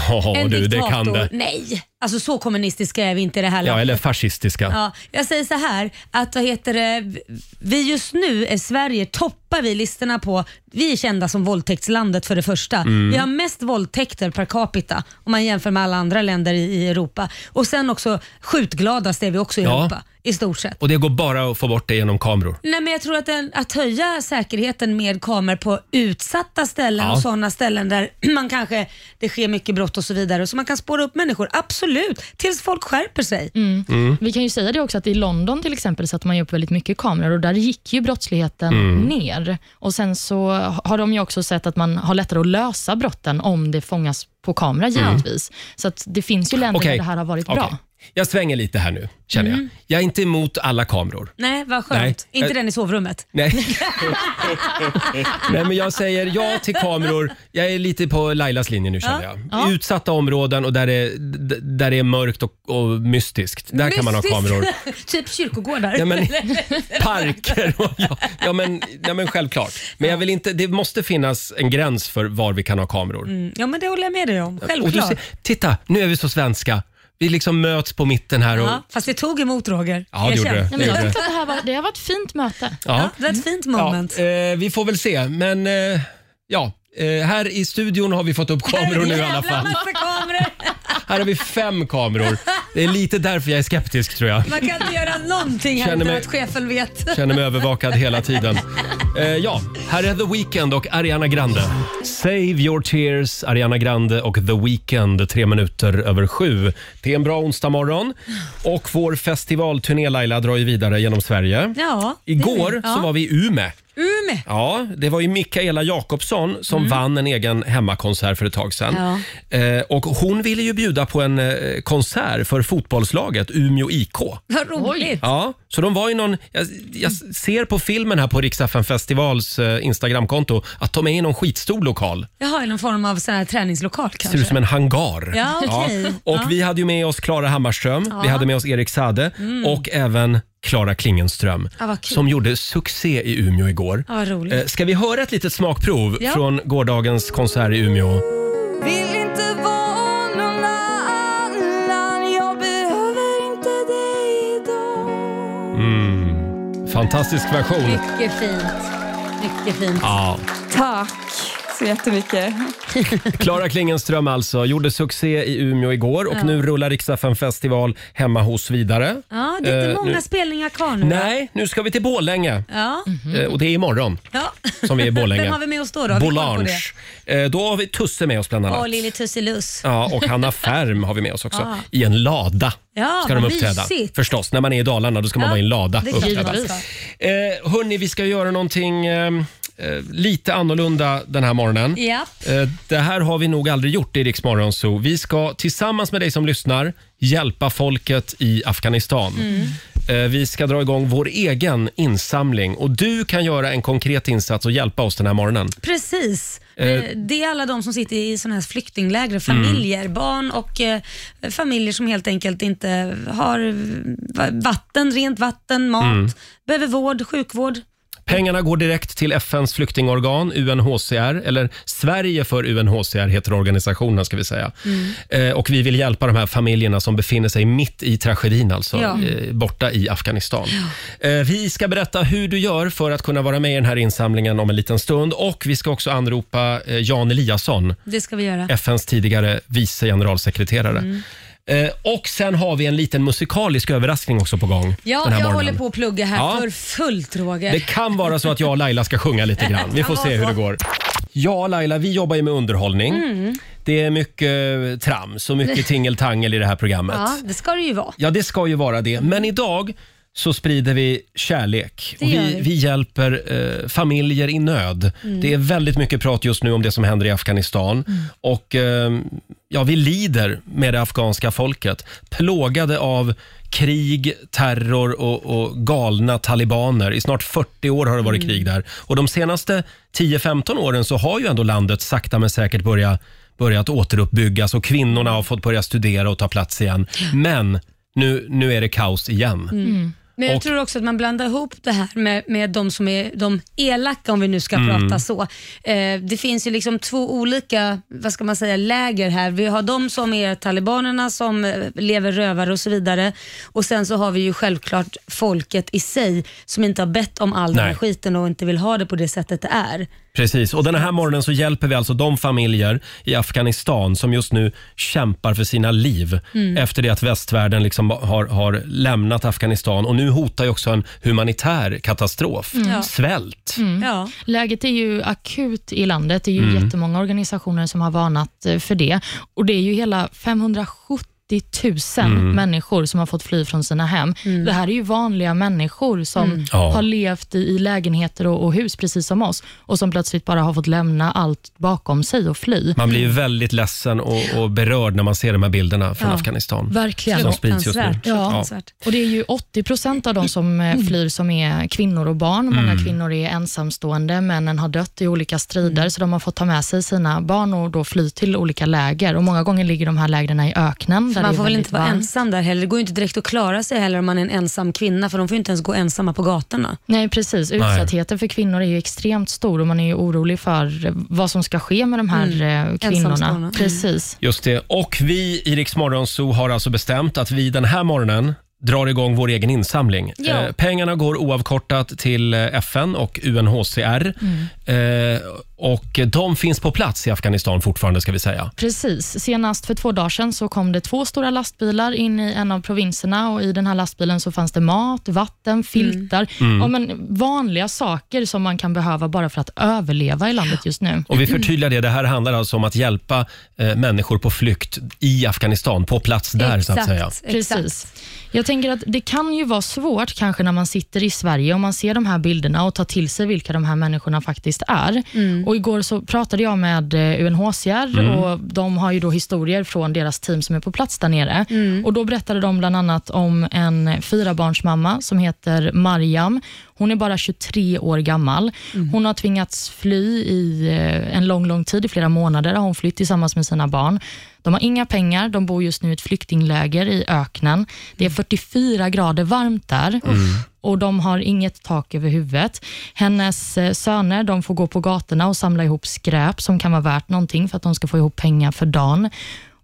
A: Ja,
B: en
A: du, det
B: diktator.
A: kan det.
B: Nej, alltså så kommunistiska är vi inte i det här
A: Ja,
B: landet.
A: eller fascistiska.
B: Ja, jag säger så här, att vad heter det, vi just nu i Sverige toppar vi listorna på, vi är kända som våldtäktslandet för det första.
A: Mm.
B: Vi har mest våldtäkter per capita om man jämför med alla andra länder i, i Europa. Och sen också skjutgladast är vi också i
A: Ja.
B: Europa i stort sett.
A: Och det går bara att få bort det genom kameror.
B: Nej, men jag tror att, den, att höja säkerheten med kameror på utsatta ställen
A: Ja.
B: och sådana ställen där man kanske, det sker mycket brott och så vidare, så man kan spåra upp människor, absolut, tills folk skärper sig.
A: Mm.
C: Vi kan ju säga det också att i London till exempel satte man ju upp väldigt mycket kameror och där gick ju brottsligheten
A: Mm.
C: ner. Och Sen så har de ju också sett att man har lättare att lösa brotten om det fångas på kamera givetvis. Så att det finns ju länder där
A: Mm. Okej.
C: det här har varit
A: Okej.
C: bra. Mm.
A: Jag svänger lite här nu, känner jag. Jag är inte emot alla kameror.
B: Nej, vad skönt.
A: Nej.
B: Inte
A: Eh,
B: den i sovrummet.
A: Nej. Nej, men jag säger ja till kameror. Jag är lite på Lailas linje nu känner jag.
C: Ja.
A: Utsatta områden och där det är, d- där det är mörkt och, och mystiskt. Där kan man ha
B: Mystiskt.
A: kameror.
B: typ kyrkogårdar.
A: Ja, men, parker och ja, ja, men, ja, men självklart. Men jag vill inte, det måste finnas en gräns för var vi kan ha kameror.
B: Mm, ja, men det håller jag med dig om.
A: Och du
B: Självklart.
A: ser, titta, nu är vi så svenska. Vi liksom möts på mitten här. Och,
B: Ja, fast det tog emot Roger.
A: Ja, det
B: Erkänn.
A: gjorde det.
C: Nej, men jag tyckte att det här var, det har varit ett fint möte.
B: Ja, det var ett fint moment.
A: Ja, eh, vi får väl se, men eh, ja. Eh, här i studion har vi fått upp kameror nu i alla
B: Jävla
A: fall.
B: massa kameror.
A: Här har vi fem kameror. Det är lite därför jag är skeptisk tror jag.
B: Man kan inte göra någonting här
A: Känner
B: utan
A: mig-
B: att chefen vet.
A: Känner mig övervakad hela tiden. Eh, ja, här är The Weeknd och Ariana Grande. Save your tears, Ariana Grande och The Weeknd, tre minuter över sju. Det är en bra onsdag morgon och vår festivalturné Laila drar ju vidare genom Sverige.
B: Ja, det är
A: Igår
B: vi. Ja.
A: så var vi i Umeå.
B: Umeå.
A: Ja, det var ju Mikaela Jakobsson som
B: Mm.
A: vann en egen hemmakonsert för ett tag sedan. Eh, och hon ville ju bjuda på en eh, konsert för fotbollslaget Umeå IK.
B: Vad roligt.
A: Ja, så de var ju någon, jag, jag ser på filmen här på Riksaffen festivals eh, Instagramkonto att de är i någon skitstor lokal.
B: Jag har ju någon form av sån här träningslokal
A: Ser ut
B: kanske.
A: som en hangar.
B: Ja, okej.
A: Och vi hade ju med oss Klara Hammarström, vi hade med oss Erik Sade och även Klara Klingenström
B: Mm. Ja, vad kul.
A: som gjorde succé i Umeå igår.
B: Ja, vad roligt.
A: Eh, Ska vi höra ett litet smakprov
B: Ja.
A: från gårdagens konsert i Umeå? Eh.
H: Vill inte vara någon annan Jag behöver inte dig idag
A: Fantastisk version.
B: Mycket fint. Mycket fint.
A: Ja.
H: Tack så jättemycket.
A: Klara Klingenström alltså, gjorde succé i Umeå igår och nu rullar Riksaffen festival hemma hos vidare.
B: Ja, det är inte
A: Eh,
B: många
A: nu-
B: spelningar kvar nu. va?
A: Nej, nu ska vi till Borlänge
B: Ja.
A: Eh, och det är imorgon
B: ja.
A: som vi är i Borlänge.
B: Mhm. Vem har vi med oss då? då? Har vi koll på
A: Bolange.
B: det?
A: Eh, Då har vi Tusse med oss bland annat.
B: Ja, Lilly Tussilus.
A: Ja, och Hanna Färm har vi med oss också.
B: Ja.
A: I en lada
B: Ja,
A: ska de
B: vad
A: uppträda.
B: mysigt.
A: Förstås, när man är i Dalarna då ska man
B: Ja,
A: vara i en lada
B: det
A: och
B: är klart
A: uppträda.
B: man
C: Givetvis.
B: ska.
A: Eh, hörni, vi ska göra någonting eh, eh, lite annorlunda den här morgonen.
B: Japp.
A: Eh, det här har vi nog aldrig gjort i Rix Morgon Zoo. Vi ska tillsammans med dig som lyssnar hjälpa folket i Afghanistan. Eh, Vi ska dra igång vår egen insamling och du kan göra en konkret insats och hjälpa oss den här morgonen.
B: Precis.
A: Eh.
B: Det- Det är alla de som sitter i såna här flyktingläger, familjer,
A: Mm.
B: barn och eh, familjer som helt enkelt inte har eh, vatten, rent vatten, mat,
A: Mm.
B: behöver vård, sjukvård.
A: Pengarna går direkt till FNs flyktingorgan UNHCR, eller Sverige för UNHCR heter organisationen ska vi säga.
B: Mm.
A: Eh, och vi vill hjälpa de här familjerna som befinner sig mitt i tragedin alltså,
B: Ja.
A: eh, borta i Afghanistan. Eh, vi ska berätta hur du gör för att kunna vara med i den här insamlingen om en liten stund och vi ska också anropa eh, Jan Eliasson,
B: Det ska vi göra.
A: FNs tidigare vice generalsekreterare.
B: Mm.
A: Eh, och sen har vi en liten musikalisk överraskning också på gång den
B: Ja, jag
A: här morgonen.
B: håller på att plugga här
A: Ja.
B: för fullt Roger.
A: Det kan vara så att jag och Laila ska sjunga lite grann. Vi får
B: Det kan
A: se hur
B: vara
A: det
B: så.
A: går. Ja, Laila, vi jobbar ju med underhållning.
B: Mm.
A: Det är mycket trams och mycket tingeltangel i det här programmet.
B: Ja, det ska det ju vara.
A: Ja, det ska ju vara det. Men idag så sprider vi kärlek.
B: Det
A: Och
B: gör
A: vi,
B: vi.
A: vi hjälper eh, familjer i nöd. Det är väldigt mycket prat just nu om det som händer i Afghanistan. Och eh, ja, vi lider med det afghanska folket. Plågade av krig, terror och, och galna talibaner. I snart 40 år har det varit krig där. Och de senaste 10-15 åren så har ju ändå landet sakta men säkert börjat börjat återuppbyggas och kvinnorna har fått börja studera och ta plats igen. Men nu, nu är det kaos igen.
B: Men jag
A: Och-
B: tror också att man blandar ihop det här med, med de som är de elaka, om vi nu ska
A: Mm.
B: prata så. Eh, det finns ju liksom två olika, vad ska man säga, läger här. Vi har de som är talibanerna som eh, lever rövare och så vidare. Och sen så har vi ju självklart folket i sig som inte har bett om all den här
A: Nej.
B: skiten och inte vill ha det på det sättet det är.
A: Precis, och den här morgonen så hjälper vi alltså de familjer i Afghanistan som just nu kämpar för sina liv efter det att västvärlden liksom har, har lämnat Afghanistan och nu hotar ju också en humanitär katastrof. Svält.
B: Ja.
C: Läget är ju akut i landet. Det är ju
A: Mm.
C: jättemånga organisationer som har varnat eh, för det. Och Det är ju hela 570 000
A: Mm.
C: människor som har fått fly från sina hem. Det här är ju vanliga människor som
A: Ja.
C: har levt i, i lägenheter och, och hus, precis som oss, och som plötsligt bara har fått lämna allt bakom sig och fly.
A: Man blir ju väldigt ledsen och, och berörd när man ser de här bilderna från
B: Ja.
A: Afghanistan.
C: Verkligen.
A: Som sprids just nu.
B: Fruktansvärt.
C: Ja.
B: Fruktansvärt.
C: Och Det är ju 80 procent av de som eh, flyr som är kvinnor och barn. Många kvinnor är ensamstående, männen har dött i olika
B: Mm.
C: strider, så de har fått ta med sig sina barn och då fly till olika läger. Och Många gånger ligger de här lägren i öknen. Där
B: Man
C: det är
B: får väl
C: väldigt
B: inte vara
C: varmt.
B: ensam där heller. Det går ju inte direkt att klara sig heller om man är en ensam kvinna, för de får ju inte ens gå ensamma på gatorna.
C: Nej, precis. Utsattheten för kvinnor är ju extremt stor och man är ju orolig för eh, vad som ska ske med de här eh, kvinnorna.
B: Ensamstående. Mm.
C: Precis.
A: Just det. Och vi i Rix Morgon Zoo har alltså bestämt att vi den här morgonen drar igång vår egen insamling.
B: Ja.
A: Eh, pengarna går oavkortat till eh, FN och UNHCR.
B: Mm.
A: Eh, och de finns på plats i Afghanistan fortfarande ska vi säga.
C: Precis. Senast för två dagar sedan så kom det två stora lastbilar in i en av provinserna och i den här lastbilen så fanns det mat, vatten, filtar. Ja, men vanliga saker som man kan behöva bara för att överleva i landet just nu.
A: Och vi
B: Mm.
A: förtydligar det, det här handlar alltså om att hjälpa eh, människor på flykt i Afghanistan, på plats där så att säga.
C: Precis. Jag tänker att det kan ju vara svårt kanske när man sitter i Sverige och man ser de här bilderna och tar till sig vilka de här människorna faktiskt är. Och Igår så pratade jag med eh, UNHCR och de har ju då historier från deras team som är på plats där nere. Och Då berättade de bland annat om en fyrabarnsmamma som heter Mariam. Hon är bara 23 år gammal. Hon har tvingats fly i eh, en lång, lång tid, i flera månader har hon flytt tillsammans med sina barn. De har inga pengar, de bor just nu i ett flyktingläger i öknen. Det är
B: Mm.
C: 44 grader varmt där och de har inget tak över huvudet. Hennes eh, söner de får gå på gatorna och samla ihop skräp som kan vara värt någonting för att de ska få ihop pengar för dagen.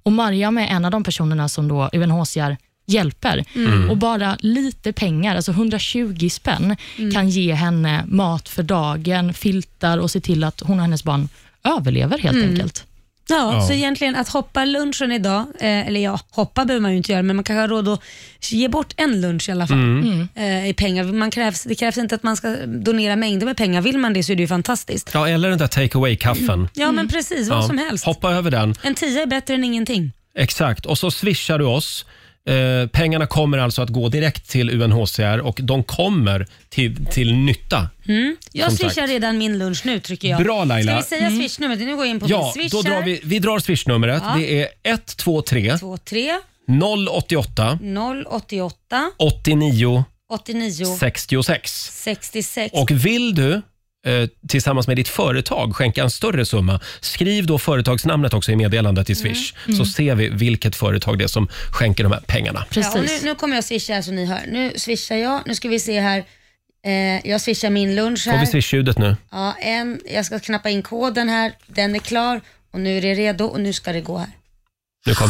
C: Och Mariam är en av de personerna som då UNHCR hjälper.
B: Mm.
C: Och bara lite pengar, alltså 120
B: Mm.
C: spänn, kan ge henne mat för dagen, filtar och se till att hon och hennes barn överlever helt
B: Mm.
C: enkelt.
B: Ja,
A: Ja.
B: så egentligen att hoppa lunchen idag, eh, eller ja, hoppa behöver man ju inte göra, men man kanske har råd att ge bort en lunch i alla fall
A: Mm.
B: eh, i pengar. Man krävs, det krävs inte att man ska donera mängder med pengar. Vill man det så är det ju fantastiskt.
A: Ja, eller den där take away-kaffen.
B: Ja, men precis. Mm. Vad
A: Ja.
B: som helst.
A: Hoppa över den.
B: En tia är bättre än ingenting.
A: Exakt. Och så swishar du oss. Eh, pengarna kommer alltså att gå direkt till UNHCR och de kommer till, till nytta.
B: Jag
A: Som sagt.
B: swishar redan min lunch nu, tycker jag.
A: Bra, Laila.
B: Ska vi säga swishnumret? Nu går jag in på
A: Ja,
B: min
A: då
B: swishar.
A: drar vi, vi drar swishnumret.
B: Ja.
A: Det är 123
B: 23
A: 088
B: 088
A: 89
B: 89
A: 66.
B: 66.
A: Och vill du eh, tillsammans med ditt företag skänka en större summa, skriv då företagsnamnet också i meddelandet
B: Mm.
A: i Swish, så ser vi vilket företag det är som skänker de här pengarna.
B: Ja, och
C: Precis.
B: nu, nu kommer jag swisha här så ni hör. Nu swishar jag. Nu ska vi se här. Eh, jag swishar min lunch
A: Får vi
B: här.
A: Swish-ljudet nu?
B: Ja, en, jag ska knappa in koden här. Den är klar och nu är det redo och nu ska det gå här.
A: Nu kom.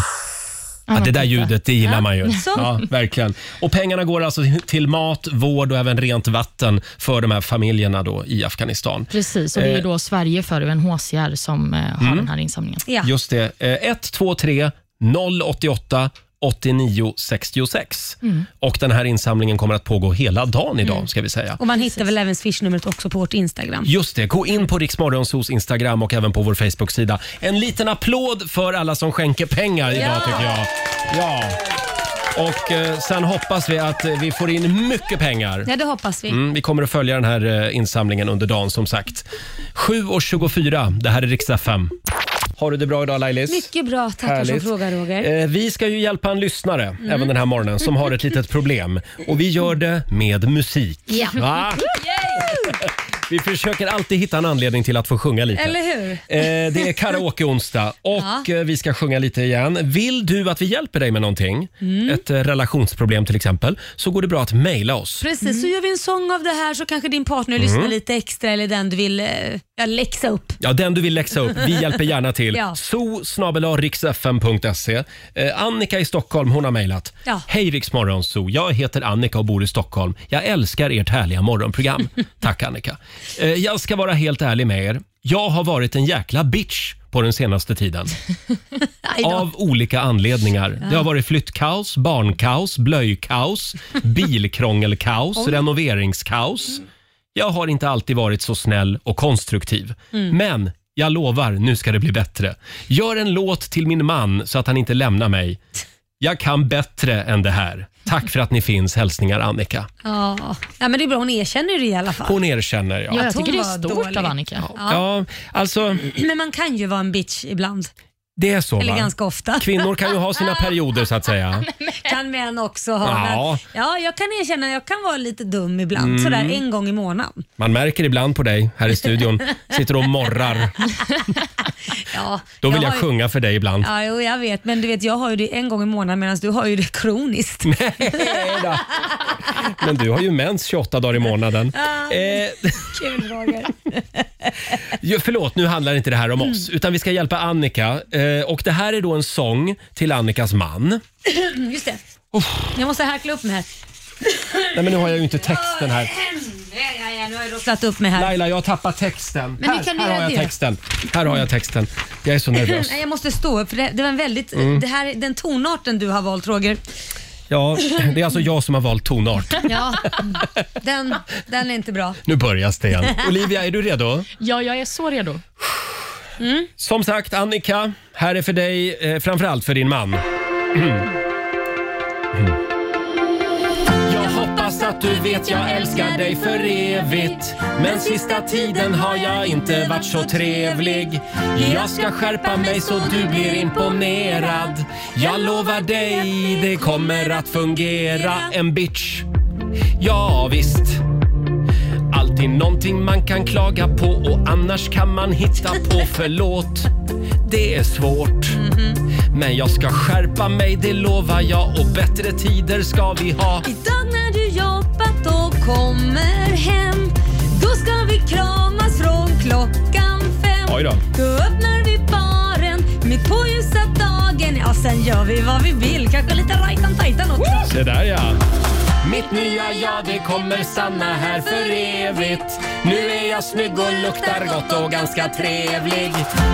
A: Ja, det där ljudet, det gillar man ju.
B: Så.
A: Ja, verkligen. Och pengarna går alltså till mat, vård och även rent vatten för de här familjerna då i Afghanistan.
C: Precis, och det är ju
A: Eh. Mm.
C: då Sverige för UNHCR som eh, har den här insamlingen.
B: Ja.
A: Just det. Eh, 123 088 89 66.
B: Mm.
A: Och den här insamlingen kommer att pågå hela dagen idag, ska vi säga.
B: Och man hittar väl även swishnumret också på vårt Instagram.
A: Just det, gå in på Riksmorgonsos Instagram och även på vår Facebook-sida. En liten applåd för alla som skänker pengar idag
B: Ja!
A: tycker jag. Ja. Och eh, sen hoppas vi att eh, vi får in mycket pengar.
B: Ja, det hoppas vi.
A: Mm, vi kommer att följa den här eh, insamlingen under dagen som sagt. 7.24, det här är riksdag 5. Har du det bra idag Lailis?
B: Mycket bra, tackar
A: Härligt.
B: som frågar Roger. Mm.
A: Eh, vi ska ju hjälpa en lyssnare även den här morgonen som har ett litet problem. Och vi gör det med musik.
B: Ja.
A: Va? Vi försöker alltid hitta en anledning till att få sjunga lite.
B: Eller hur?
A: Eh, det är karaoke-onsdag och eh, vi ska sjunga lite igen. Vill du att vi hjälper dig med någonting,
B: Mm.
A: ett eh, relationsproblem till exempel, så går det bra att mejla oss.
B: Precis, så gör vi en sång av det här så kanske din partner lyssnar lite extra eller den du vill eh, ja, läxa upp.
A: Ja, den du vill läxa upp. Vi hjälper gärna till.
B: Ja.
A: so riksfm.se. Eh, Annika i Stockholm hon har mejlat.
B: Ja.
A: Hej Rix Morgonzoo. Jag heter Annika och bor i Stockholm. Jag älskar ert härliga morgonprogram. Tack Annika. Eh, jag ska vara helt ärlig med er. Jag har varit en jäkla bitch på den senaste tiden.
B: Aj då.
A: Av olika anledningar. Det har varit flyttkaos, barnkaos, blöjkaos, bilkrångelkaos, renoveringskaos. Jag har inte alltid varit så snäll och konstruktiv.
B: Mm.
A: Men jag lovar, nu ska det bli bättre. Gör en låt till min man så att han inte lämnar mig. Jag kan bättre än det här. Tack för att ni finns. Hälsningar Annika.
B: Ja. ja, men det är bra. Hon erkänner det i alla fall.
A: Hon erkänner, ja.
C: Ja,
A: ja.
C: jag tycker det
B: hon
C: är
B: var
C: stort
B: dålig.
C: av Annika.
A: alltså
B: Men man kan ju vara en bitch ibland.
A: det är så
B: Eller
A: va?
B: ganska ofta.
A: Kvinnor kan ju ha sina perioder så att säga.
B: kan män också ha.
A: Ja. Mm.
B: Ja. ja, jag kan erkänna att jag kan vara lite dum ibland. Sådär en gång i månaden.
A: Man märker ibland på dig här i studion. Sitter och morrar.
B: Ja,
A: Då vill jag
B: har ju-
A: sjunga för dig ibland.
B: Ja, jo, jag vet. Men du vet, jag har ju det en gång i månaden medan du har ju det kroniskt.
A: Nej då. Men du har ju mens 28 dagar i månaden. Eh,
B: Kul Roger.
A: ju- förlåt, nu handlar inte det här om oss, utan vi ska hjälpa Annika. Eh, och Det här är då en sång till Annikas man.
B: Mm, Just det. Jag måste harkla upp mig här.
A: Nej, men nu har jag ju inte texten här.
B: Nej, nej, nej, nu har jag rofflat upp mig här.
A: Laila, jag har tappat texten.
B: Men hur
A: här
B: kan du
A: här
B: göra
A: har jag
B: det?
A: texten. Här har jag texten. Jag är Mm. så nervös.
B: Nej, jag måste stå upp för det, det var en väldigt, det här, den tonarten du har valt Roger,
A: Ja, det är alltså jag som har valt tonart.
B: ja, den, den är inte bra.
A: Nu börjar det igen. Olivia, är du redo?
C: Ja, jag är så redo.
A: Som sagt, Annika, här är för dig, eh, framförallt för din man. Jag hoppas att du vet jag älskar dig för evigt Men sista tiden har jag inte varit så trevlig Jag ska skärpa mig så du blir imponerad Jag lovar dig, det kommer att fungera En bitch, ja visst Alltid någonting man kan klaga på och annars kan man hitta på förlåt. Det är svårt. Men jag ska skärpa mig, det lovar jag och bättre tider ska vi ha.
B: Idag när du jobbat och kommer hem Då ska vi kramas från klockan fem
A: Oj då.
B: Då öppnar vi baren mitt på ljusa dagen Ja, sen gör vi vad vi vill, kanske lite right on titan också
A: Det där ja. Mitt nya jag det kommer stanna här för evigt Nu är jag snygg och luktar gott och ganska trevlig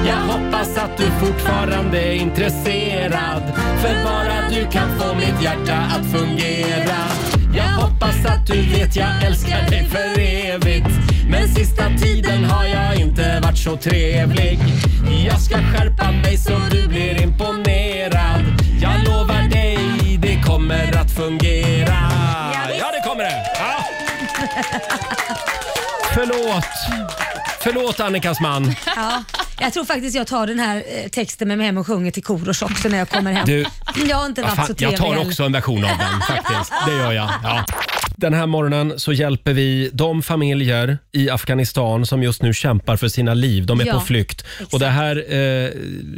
A: Jag hoppas att du fortfarande är intresserad För bara du kan få mitt hjärta att fungera Jag hoppas att du vet jag älskar dig för evigt Men sista tiden har jag inte varit så trevlig Jag ska skärpa mig så du blir imponerad Jag lovar dig det kommer att fungera. Ja, det kommer det! Ja. Förlåt. Förlåt Annikas man.
B: Ja, jag tror faktiskt jag tar den här eh, texten med mig hem och sjunger till Korosh också när jag kommer hem.
A: Du,
B: jag har inte varit
A: Fan,
B: så trevlig
A: jag tar
B: heller.
A: också en version av den faktiskt. Det gör jag. Ja. Den här morgonen så hjälper vi de familjer i Afghanistan som just nu kämpar för sina liv. De är
B: Ja,
A: på flykt. Och det här eh,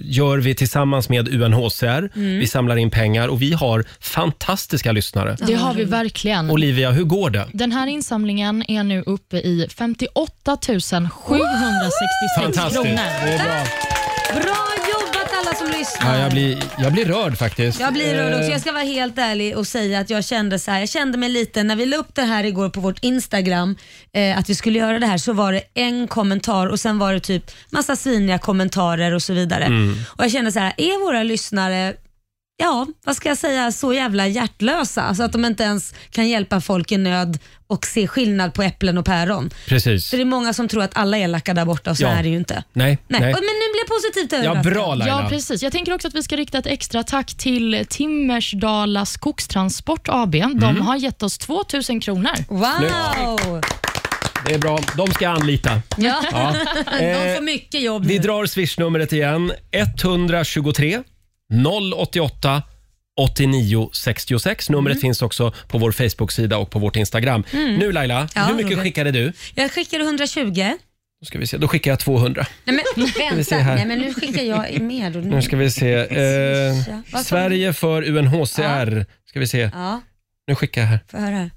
A: gör vi tillsammans med UNHCR.
B: Mm.
A: Vi samlar in pengar och vi har fantastiska lyssnare.
C: Det har vi verkligen.
A: Olivia, hur går det?
C: Den här insamlingen är nu uppe i 58 766
A: Fantastiskt.
C: kronor.
A: Det är bra.
B: Bra jobbat alla som lyssnar.
A: Ja, jag, blir, jag blir rörd faktiskt.
B: Jag blir rörd
A: Eh.
B: också. Jag ska vara helt ärlig och säga att jag kände så här, jag kände mig lite, när vi la upp det här igår på vårt Instagram, eh, att vi skulle göra det här, så var det en kommentar och sen var det typ massa sviniga kommentarer och så vidare.
A: Mm.
B: Och jag kände så här, är våra lyssnare Ja, vad ska jag säga, så jävla hjärtlösa så att de inte ens kan hjälpa folk i nöd och se skillnad på äpplen och päron.
A: Precis.
B: För det är många som tror att alla är elaka där borta och så
A: Ja.
B: är det ju inte.
A: Nej,
B: Nej.
A: nej.
B: Och- Men nu blir jag positivt
A: Ja,
B: överraskad.
A: bra Laila.
C: Ja, precis. Jag tänker också att vi ska rikta ett extra tack till Timmersdala Skogstransport AB. De
A: Mm.
C: har gett oss 2 000 kronor.
B: Wow!
A: Det är bra. De ska jag anlita.
B: Ja.
A: Ja.
B: De
A: Eh,
B: får mycket jobb
A: vi
B: nu.
A: drar swishnumret igen. 123 088 89 66. Numret finns också på vår Facebook-sida och på vårt Instagram. Nu Laila,
B: Ja,
A: hur mycket
B: Roger.
A: skickade du?
B: Jag skickade 120. Nej,
A: Då, ska vi se. Då skickar jag 200.
B: men,
A: se
B: vänta,
A: här.
B: nej, men nu skickar jag mer. Och
A: Nu
B: nu.
A: ska vi se. Eh,
B: Varför-
A: Sverige för UNHCR. Ska vi se.
B: Ja,
A: Nu skickar jag här.
B: får jag höra. här?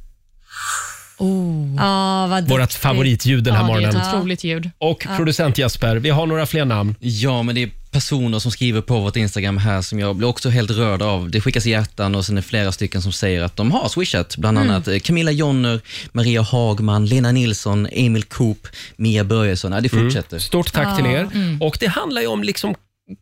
C: Oh.
B: Ja, vad
A: Vårt
B: duktig.
A: favoritljud den här
C: ja, det är
A: morgonen.
C: ett otroligt ljud.
A: Och producent Jesper, vi har några fler namn.
F: Ja, men det är personer som skriver på vårt Instagram här som jag blir också helt rörd av. Det skickas hjärtan och sen är det flera stycken som säger att de har swishat. Bland annat eh, Camilla Jonner, Maria Hagman, Lena Nilsson, Emil Koop, Mia Börjesson. Ja, det fortsätter.
A: Stort tack till er. Och det handlar ju om liksom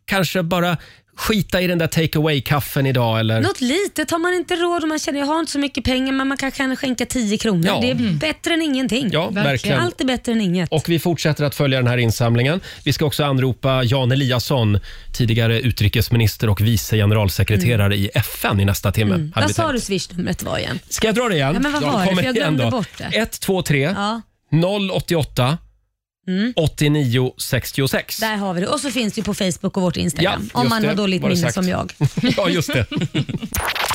A: kanske bara skita i den där take away-kaffen idag eller
B: Något litet har man inte råd och man känner jag har inte så mycket pengar men man kanske kan skänka 10 kronor.
A: Ja. Mm.
B: Det är bättre än ingenting.
A: Ja, verkligen.
B: Allt är bättre än inget.
A: Och vi fortsätter att följa den här insamlingen. Vi ska också anropa Jan Eliasson, tidigare utrikesminister och vice generalsekreterare i FN i nästa timme. hade vi
B: Mm. Vad sa
A: tänkt.
B: du swishnumret var igen?
A: Ska jag dra det igen?
B: Ja, men vad var det?
A: Kommer
B: För jag glömde
A: igen då.
B: bort det.
A: 1, 2, 3,
B: Ja, Mm.
A: 0, 88, 89, 66.
B: där har vi det. Och så finns det ju på Facebook och vårt Instagram.
A: Ja,
B: om
A: just
B: man
A: det.
B: har dåligt
A: Var det
B: minne
A: sagt.
B: som jag.
A: ja, just det.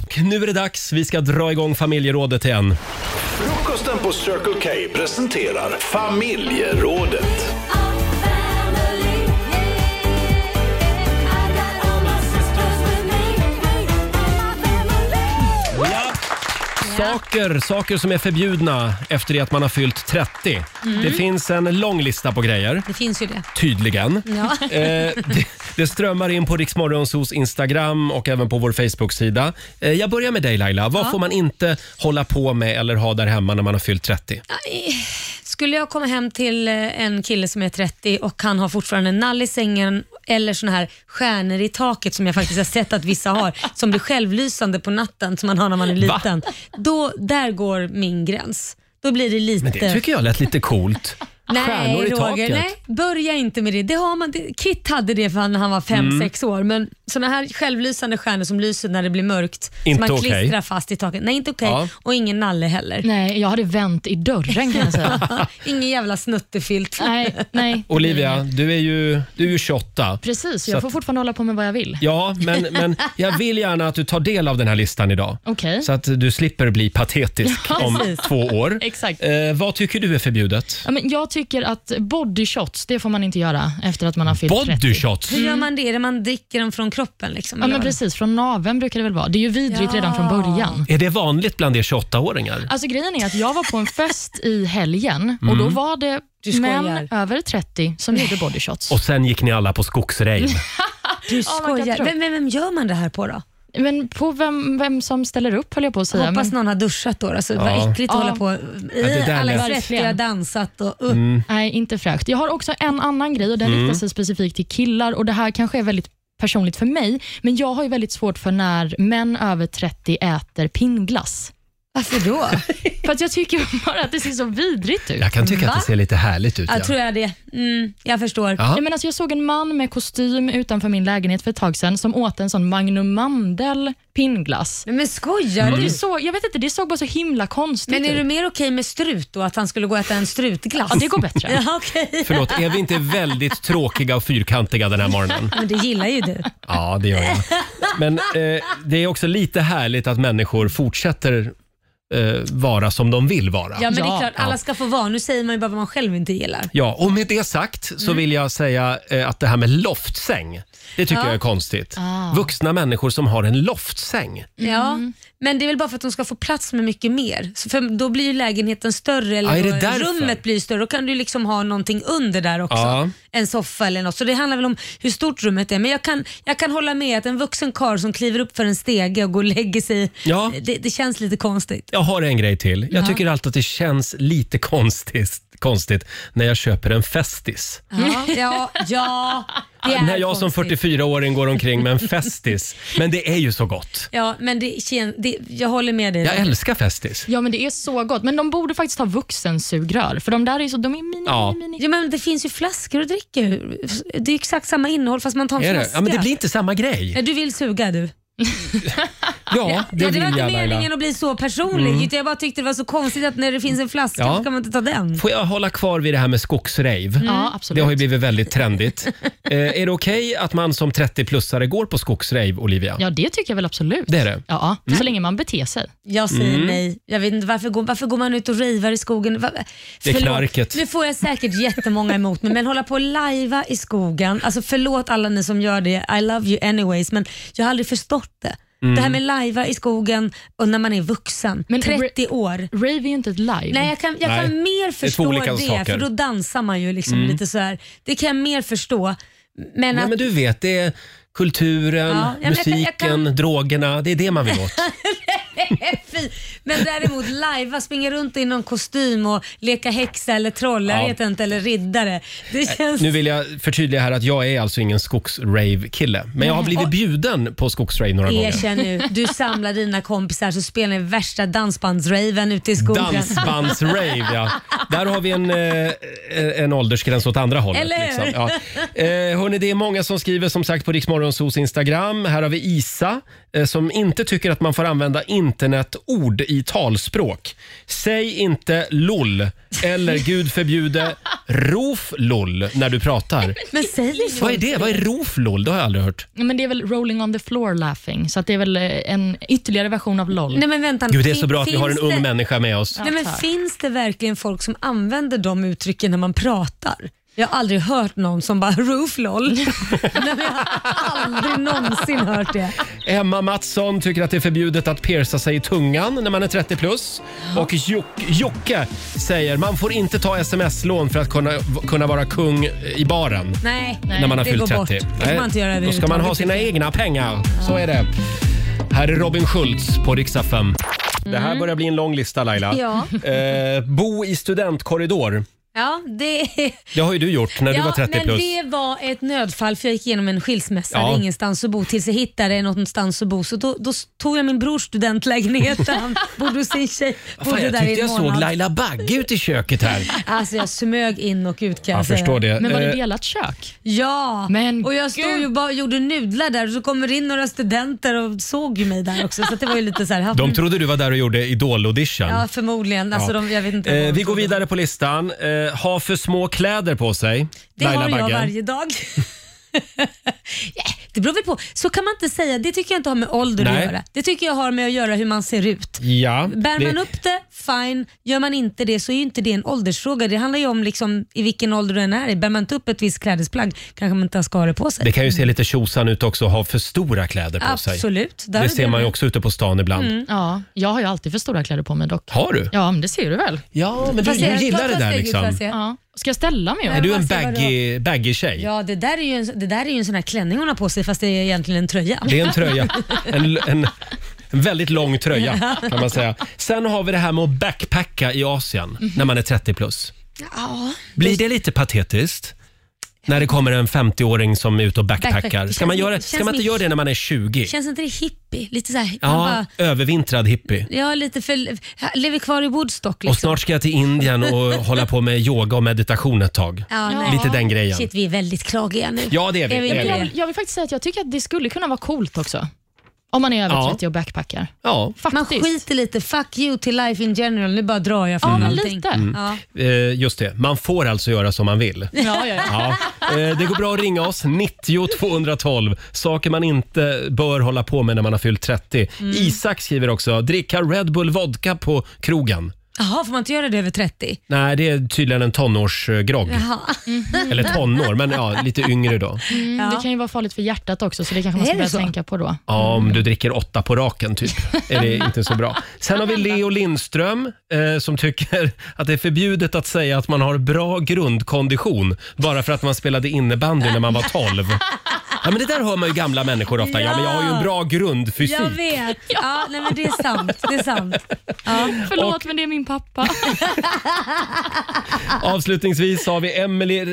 A: Och nu är det dags. Vi ska dra igång familjerådet igen.
G: Frukosten på Circle K presenterar Familjerådet.
A: Saker, saker som är förbjudna efter det att man har fyllt 30.
B: Mm.
A: Det finns en lång lista på grejer,
B: Det finns ju det.
A: tydligen.
B: Ja.
A: Eh, det, det strömmar in på Riksmorgonsos Instagram och även på vår Facebook-sida. Eh, jag börjar med dig Laila. Vad får man inte hålla på med eller ha där hemma när man har fyllt 30?
B: Skulle jag komma hem till eh, en kille som är 30 och han har fortfarande en nall i sängen eller såna här stjärnor i taket som jag faktiskt har sett att vissa har, som blir självlysande på natten som man har när man är
A: Va?
B: liten. Då, där går min gräns. Då blir det lite...
A: Men det tycker jag lät lite coolt. Stjärnor i taket.
B: nej, börja inte med det. det, har man, det Kit hade det för när han var
A: Mm.
B: 5-6 år, men såna här självlysande stjärnor som lyser när det blir mörkt,
A: Inte
B: som man
A: okej.
B: klistrar fast i taket. Nej, inte okej.
A: Ja.
B: Och ingen nalle heller.
C: Nej, jag hade vänt i dörren kan jag säga.
B: ingen jävla snuttefilt.
C: nej, nej.
A: Olivia, du är ju, du är ju 28.
C: Precis,
A: Så
C: jag
A: att-
C: får fortfarande hålla på med vad jag vill.
A: Ja, men, men jag vill gärna att du tar del av den här listan idag.
C: Okej.
A: Så att du slipper bli patetisk
C: Mm. Ja,
A: om
C: precis.
A: två år.
C: Exakt.
A: Eh, vad tycker du är förbjudet?
C: Ja, men jag tycker att body shots, det får man inte göra efter att man har fyllt 30.
A: Body shots?
B: Hur gör man det? Är det man dricker dem från kroppen? Liksom,
C: Ja,
B: eller
C: men
B: vad?
C: precis. Från naveln brukar det väl vara. Det är ju vidrigt
B: Ja.
C: redan från början.
A: Är det vanligt bland er 28-åringar?
C: Alltså grejen är att jag var på en fest i helgen och
A: Mm.
C: då var det
B: Du skojar.
C: män över 30 som gjorde body shots.
A: Och sen gick ni alla på skogsrejv.
B: Du
C: man kan
B: skojar.
C: tro.
B: Vem, vem, vem gör man det här på då?
C: Men på vem, vem som ställer upp höll jag på att säga.
B: Hoppas
C: men,
B: någon har duschat då. Alltså,
A: Ja.
B: Vad äckligt att
C: Ja.
B: hålla på.
A: det
B: Eh,
A: där
B: Alla är
A: lät-
B: svettiga,
C: Verkligen.
B: dansat och uh.
A: Mm.
C: Nej, inte fräscht. Jag har också en annan grej och den riktar sig specifikt till killar och det här kanske är väldigt personligt för mig, men jag har ju väldigt svårt för när män över 30 äter pinnglass.
B: Varför då?
C: För att jag tycker bara att det ser så vidrigt ut.
A: Jag kan tycka att det ser lite härligt ut.
B: Jag
A: ja.
B: tror jag det. Mm, jag förstår.
A: Ja.
C: Nej, men alltså jag såg en man med kostym utanför min lägenhet för ett tag sedan som åt en sån Magnum Mandel pinnglass.
B: Men, men skojar
C: Det
A: Mm.
B: du?
C: såg, jag vet inte, det såg bara så himla konstigt
B: Men är du
C: ut.
B: mer okej med strut då? Att han skulle gå och äta en strutglass?
C: Ja, det går bättre.
B: Ja, okej.
A: Förlåt, är vi inte väldigt tråkiga och fyrkantiga den här morgonen?
B: Men det gillar ju du.
A: Ja, det gör jag. Men eh, det är också lite härligt att människor fortsätter eh, vara som de vill vara.
B: Ja, men det är
C: Ja.
B: klart. Alla ska få vara. Nu säger man ju bara vad man själv inte gillar.
A: Ja, och med det sagt
B: Mm.
A: så vill jag säga eh, att det här med loftsäng, det tycker
B: Ja.
A: jag är konstigt.
C: Ah.
A: Vuxna människor som har en loftsäng.
B: Ja,
A: Mm.
B: men det är väl bara för att de ska få plats med mycket mer. Så för då blir ju lägenheten större eller
A: Ja, är det
B: då-
A: därför?
B: rummet blir större. Då kan du liksom ha någonting under där också.
A: Ja.
B: En soffa eller något. Så det handlar väl om hur stort rummet är. Men jag kan, jag kan hålla med att en vuxen karl som kliver upp för en stege och går och lägger sig,
A: Ja.
B: det, det känns lite konstigt.
A: Jag har en grej till. Jag tycker alltid att det känns lite konstigt, konstigt när jag köper en Festis.
B: Ja, ja, ja det är
A: När jag som
B: konstigt.
A: 44-åring går omkring med en Festis. Men det är ju så gott.
B: Ja, men det, kän- det, jag håller med dig.
A: Jag älskar Festis.
C: Ja, men det är så gott. Men de borde faktiskt ha vuxensugrör, för de där är ju så, de är mini,
A: Ja.
C: mini, mini.
B: Ja, men det finns ju flaskor att dricka ur. Det är ju exakt samma innehåll fast man tar en
A: Är det?
B: flaska.
A: Ja, men det blir inte samma grej.
B: Nej, du vill suga du.
A: Ja, det
B: ja, det
A: vill
B: var
A: jag
B: inte meningen
A: Laila. Mm.
B: att bli så personlig. utan Jag bara tyckte det var så konstigt att när det finns en flaska
A: Ja.
B: så kan man inte ta den.
A: Får jag hålla kvar vid det här med skogsrave?
B: Mm.
C: Ja,
A: Det
C: absolut.
A: har ju blivit väldigt trendigt. eh, är det okej att man som 30-plussare går på skogsrave, Olivia?
C: Ja, det tycker jag väl absolut.
A: Det är det. Mm.
C: Ja, så länge man beter sig.
B: Jag säger nej. Jag vet inte, varför, går, varför går man ut och rejvar i skogen? Va,
A: Det är
B: förlåt.
A: knarket.
B: Nu får jag säkert jättemånga emot mig, men hålla på och lajva i skogen. Alltså förlåt alla ni som gör det. I love you anyways, men jag har aldrig förstått det. Det
A: Mm.
B: här med lajva i skogen och när man är vuxen,
C: Men-
B: 30 år.
C: Rave är ju inte ett live.
B: Nej, jag kan, jag
A: Nej,
B: kan mer förstå det,
A: olika saker.
B: för då dansar man ju liksom lite så här. Det kan jag mer förstå. Men
A: Nej,
B: att
A: men du vet, det är kulturen,
B: Ja, ja, men jag kan-
A: musiken,
B: jag kan-
A: drogerna. Det är det man vill åt.
B: Fy. Men däremot lajva, springa runt i någon kostym och leka häxa eller troll,
A: Ja.
B: jag vet inte, eller riddare. Det känns...
A: nu vill jag förtydliga här att jag är alltså ingen skogsrave-kille. Men jag har blivit bjuden på skogsrave några gånger.
B: Erkänn nu, du samlar dina kompisar så spelar ni värsta dansbandsraven ute i skogen.
A: Dansbandsrave, ja. Där har vi en, eh, en åldersgräns åt andra hållet.
B: Eller hur?
A: Ja. Eh, hörni, det är många som skriver som sagt på Riksmorgonsos Instagram. Här har vi Isa eh, som inte tycker att man får använda internetord i talspråk. Säg inte LOL eller gud förbjude rof LOL när du pratar.
B: Men säg det.
A: Vad är det? Vad är rof LOL? Det har jag aldrig hört.
C: Men det är väl rolling on the floor laughing, så att det är väl eh, en ytterligare version av LOL.
B: Nej men vänta.
A: Gud, det är så
B: fin-
A: bra att vi har en
B: finns
A: ung
B: det-
A: människa med oss.
B: Nej, men
C: tack.
B: finns det verkligen folk som använder de uttrycken när man pratar? Jag har aldrig hört någon som bara rooflol. Nej, men jag har aldrig någonsin hört det.
A: Emma Mattsson tycker att det är förbjudet att pierca sig i tungan när man är 30 plus. Och Jock, Jocke säger man får inte ta sms-lån för att kunna, kunna vara kung i baren.
B: Nej,
A: när man har
B: det
A: fyllt
B: går
A: 30.
B: bort. Det får man inte göra
A: då ska man ha sina egna pengar. Så är det. Här är Robin Schultz på riksdag 5. Det här börjar bli en lång lista Laila.
B: Mm. Ja.
A: Eh, bo i studentkorridor.
B: Ja, det är...
A: Det har ju du gjort när du var 30
B: men
A: plus.
B: det var ett nödfall för jag gick igenom en skilsmässa.
A: Ja.
B: Hade ingenstans att bo tills jag hittade någonstans att bo. Så då, då tog jag min brors studentlägenhet där han bodde hos sin tjej.
A: Fan,
B: Bodde
A: jag
B: där
A: tyckte
B: i en
A: jag såg
B: månad.
A: Laila Bagge ute i köket här.
B: Alltså jag smög in och ut kan jag,
A: Jag
B: säga.
A: förstår det.
C: Men var
A: Eh,
C: det delat kök?
B: Ja,
C: Men
B: och jag stod
C: gud.
B: ju bara och gjorde nudlar där och så kommer in några studenter och såg ju mig där också. Så att det var ju lite så här,
A: De trodde du var där och gjorde Idol-audition.
B: Ja, förmodligen. Alltså,
A: Ja.
B: de, jag vet inte vad
A: Eh,
B: de
A: vi går
B: trodde.
A: vidare på listan. Eh, ha för små kläder på sig.
B: Det har jag varje dag. Ja, det beror väl på. Så kan man inte säga. Det tycker jag inte har med ålder
A: Nej.
B: att göra. Det tycker jag har med att göra hur man ser ut.
A: Ja,
B: Bär
A: det-
B: man upp det, fine. Gör man inte det så är ju inte det en åldersfråga. Det handlar ju om liksom, i vilken ålder du än är i. Bär man inte upp ett visst klädesplagg kanske man inte ska ha det på sig.
A: Det kan ju se lite tjosan ut också att ha för stora kläder på sig.
B: Absolut. Där
A: Det
B: har
A: ser
B: du
A: man ju
B: med. Mm.
A: också ute på stan ibland.
C: Ja, jag har ju alltid för stora kläder på mig dock.
A: Har du?
C: Ja, men det ser du väl?
A: Ja, men du,
B: Får jag se?
A: du gillar
B: Ta-
A: det
B: ta
A: där
B: steget, får jag
A: liksom.
B: se?
C: Ja. Ska jag ställa mig
A: Är
C: upp?
A: du en
B: vad ska jag
A: baggy, baggy tjej?
B: Ja, det där är ju en, det där är ju en sån här klänning hon har på sig fast det är egentligen en tröja.
A: Det är en tröja. En, en, en väldigt lång tröja kan man säga. Sen har vi det här med att backpacka i Asien när man är 30 plus.
B: Ja.
A: Blir det lite patetiskt? När det kommer en 50-åring som är ute och backpackar.
B: Backpack.
A: Ska man, göra,
B: Känns-
A: ska man inte
B: känns-
A: göra det när man är 20?
B: Känns inte det hippie? Lite så här, man
A: Ja,
B: bara,
A: övervintrad hippie.
B: ja, lite för, lever kvar i Woodstock liksom.
A: Och snart ska jag till Indien och hålla på med yoga och meditation ett tag.
B: ja, nej.
A: Lite den grejen.
B: Shit, vi är väldigt klagiga nu.
A: Ja, det är vi.
B: Är vi
A: Det är
C: Men
A: vi.
B: det?
C: jag, jag vill faktiskt säga att jag tycker att det skulle kunna vara coolt också. Om man är över
A: Ja.
C: 30 och backpackar.
A: Ja.
B: Man
C: Faktiskt.
B: skiter lite, fuck you till life in general, nu bara drar jag från
C: ja, men
B: allting.
C: lite.
B: Ja.
A: Eh, just det, man får alltså göra som man vill.
C: Ja, ja, ja.
A: Ja. Eh, Det går bra att ringa oss, 90 212. Saker man inte bör hålla på med när man har fyllt 30.
B: Mm.
A: Isak skriver också, dricka Red Bull vodka på krogen.
B: Jaha, får man inte göra det över 30?
A: Nej, det är tydligen en tonårsgrogg.
B: Jaha.
A: Eller tonår, men ja, lite yngre då.
B: Ja.
C: Det kan ju vara farligt för hjärtat också, så det kanske man ska
B: Är det
C: börja
B: så?
C: tänka på då.
A: Ja, om du dricker åtta på raken typ, är det inte så bra. Sen har vi Leo Lindström eh, som tycker att det är förbjudet att säga att man har bra grundkondition bara för att man spelade innebandy när man var 12. Ja, men det där hör man ju gamla människor ofta. Ja, men jag har ju en bra grundfysik.
B: Jag vet. Ja, nej, men det är sant. Det är sant. Ja.
C: Förlåt, men det är min pappa.
A: Avslutningsvis har vi Emelie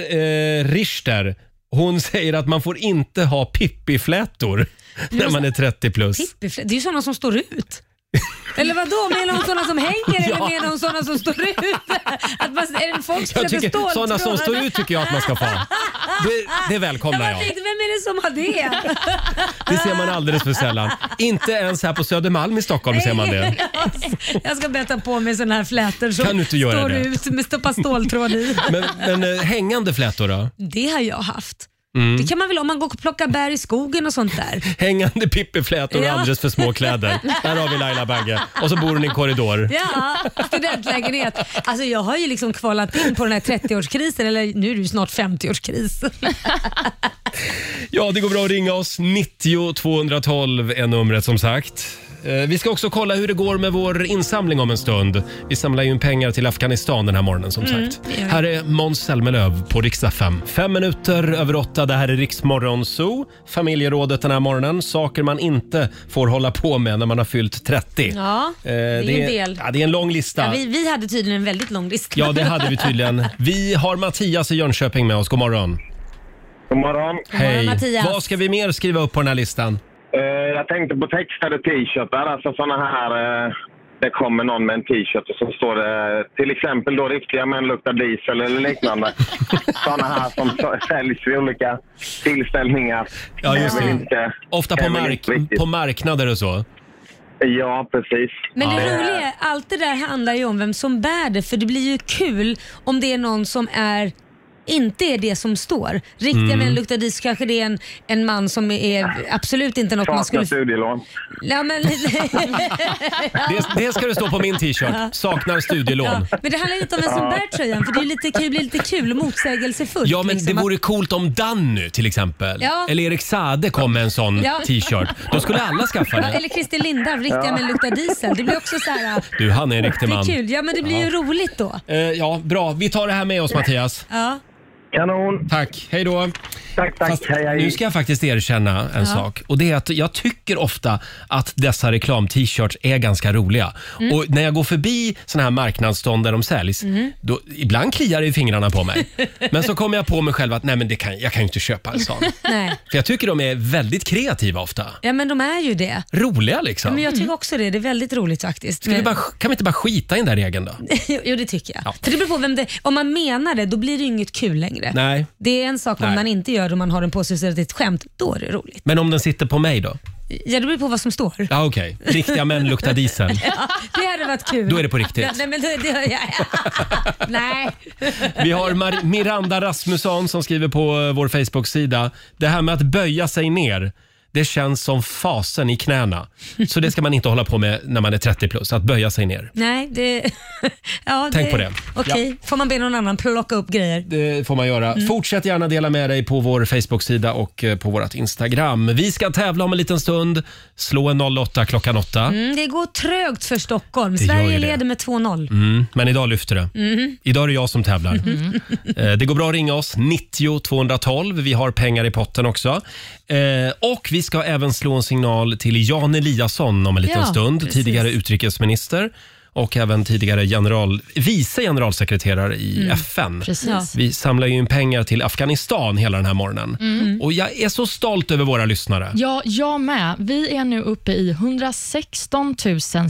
A: eh, Richter. Hon säger att man får inte ha pippiflätor när man är 30 plus.
B: Pippiflä- Det är ju sådana som står ut. Eller vadå, menar hon sådana som hänger
A: Ja.
B: eller menar hon sådana som står ut? Att man, är det folk som
A: Jag
B: sätter
A: tycker,
B: ståltrådar?
A: sådana som står ut tycker jag att man ska få ha. Det, det
B: Jag
A: välkomnar
B: bara
A: jag.
B: tänkte, vem är det som har det?
A: Det ser man alldeles för sällan. Inte ens här på Södermalm i Stockholm ser man det.
B: Jag ska bättra på mig sådana här flätor som
A: Kan du inte göra
B: står
A: det?
B: ut med stoppa ståltråd i.
A: Men, men eh, hängande flätor då?
B: Det har jag haft.
A: Mm.
B: Det kan man väl om man går och plockar bär i skogen och sånt där.
A: Hängande pippiflätor och
B: Ja.
A: alldeles för små kläder. Där har vi Laila Bagge. Och så bor hon i en korridor.
B: Ja, studentlägenhet. Alltså jag har ju liksom kvalat in på den här 30-årskrisen, eller nu är det ju snart 50-årskris.
A: Ja, det går bra att ringa oss. 90 212 är numret som sagt. Eh, Vi ska också kolla hur det går med vår insamling om en stund. Vi samlar ju in pengar till Afghanistan den här morgonen som
B: Mm,
A: sagt. Här är Måns Zelmerlöw på riksdag 5. Fem minuter över åtta. Det här är Riksmorgon Zoo. Familjerådet den här morgonen. Saker man inte får hålla på med när man har fyllt 30.
B: Ja,
A: Eh,
B: det är ju en del.
A: Ja, det är en lång lista.
B: Ja, vi, vi hade tydligen en väldigt lång lista.
A: Ja, det hade vi tydligen. Vi har Mattias i Jönköping med oss. God morgon.
I: God morgon.
A: Hej.
B: Mattias.
A: Vad ska vi mer skriva upp på den här listan?
I: Eh, jag tänkte på textade t-shirtar, alltså sådana här... eh, det kommer någon med en t-shirt och så står det till exempel då riktiga män luktar diesel eller liknande. sådana här som så- säljs vid olika tillställningar.
A: Ja, just
I: Jag vet
A: det.
I: inte.
A: Ofta på,
I: Jag vet
A: mark
I: inte riktigt.
A: på marknader och så.
I: Ja, precis.
B: Men det
A: Ja.
B: roliga är, allt det där handlar ju om vem som bär det, för det blir ju kul om det är någon som är inte är det som står. Riktiga
A: Mm.
B: män luktar dis kanske det är en, en man som är absolut inte något
I: Saknar
B: man skulle...
I: studielån.
B: Ja, men,
A: Det, det ska det stå på min t-shirt. Saknar studielån.
B: men det handlar inte om vem som bär tröjan för det, är lite, kan ju bli lite kul och motsägelsefullt.
A: Ja, men det
B: liksom, att-
A: vore coolt om Danny till exempel,
B: Ja.
A: eller Erik Sade kom med en sån
B: Ja.
A: t-shirt. Då skulle alla skaffa
B: Ja,
A: det.
B: eller Christer Lindarw, riktiga män luktar diesel. Det blir också så här,
A: Du, han är en
B: det
A: riktig
B: är
A: man.
B: kul. Ja, men det blir ju roligt då.
A: Eh, ja, bra. Vi tar det här med oss Mattias.
B: Ja.
I: Kanon.
A: Tack. Hej då.
I: Tack, tack.
A: Fast
I: hej, hej.
A: nu ska jag faktiskt erkänna en sak. Och det är att Jag tycker ofta att dessa reklam-t-shirts är ganska roliga.
B: Mm.
A: Och När jag går förbi såna här marknadsstånd där de säljs, då, ibland kliar det i fingrarna på mig. men så kommer jag på mig själv att nej, men det kan, jag kan ju inte köpa en sån.
B: Nej.
A: För jag tycker de är väldigt kreativa ofta.
B: ja, men de är ju det.
A: Roliga liksom.
B: Men jag tycker också det. Det är väldigt roligt faktiskt.
A: Ska vi
B: Men-
A: bara, kan vi inte bara skita i den där regeln då?
B: Jo, jo, det tycker jag.
A: Ja.
B: För det beror på vem det, om man menar det, då blir det ju inget kul längre.
A: Nej.
B: Det är en sak om
A: Nej.
B: man inte gör det och man har den på sig så att det är ett skämt. Då är det roligt.
A: Men om den sitter på mig då?
B: Ja, det beror på vad som står.
A: Ja, okej. Riktiga män luktar diesel.
B: Ja, det hade varit kul.
A: Då är det på riktigt.
B: Ja, Nej, men det, det, ja, ja. Nej.
A: Vi har Mar- Miranda Rasmusson som skriver på eh, vår Facebook-sida. Det här med att böja sig ner. det känns som fasen i knäna. Så det ska man inte hålla på med när man är 30 plus, att böja sig ner.
B: Nej, det... ja,
A: Tänk på det.
B: Okej, får man be någon annan plocka upp grejer?
A: Det får man göra. Fortsätt gärna dela med dig på vår Facebook-sida och eh, på vårt Instagram. Vi ska tävla om en liten stund. Slå en 08 klockan 8.
B: Mm, det går trögt för Stockholm.
A: Det gör ju
B: Sverige
A: det.
B: leder med 2-0.
A: Mm, men idag lyfter det.
B: Mhm.
A: Idag är det jag som tävlar. Eh, Det går bra att ringa oss, 90 212. Vi har pengar i potten också. Eh, Och vi ska även slå en signal till Jan Eliasson om en liten
J: Ja,
A: stund.
J: precis.
A: Tidigare utrikesminister och även tidigare general, vice generalsekreterare i
J: Mm,
A: FN.
J: precis. Ja.
A: Vi samlar ju in pengar till Afghanistan hela den här morgonen.
C: Mm.
A: Och jag är så stolt över våra lyssnare.
C: Ja, jag med. Vi är nu uppe i 116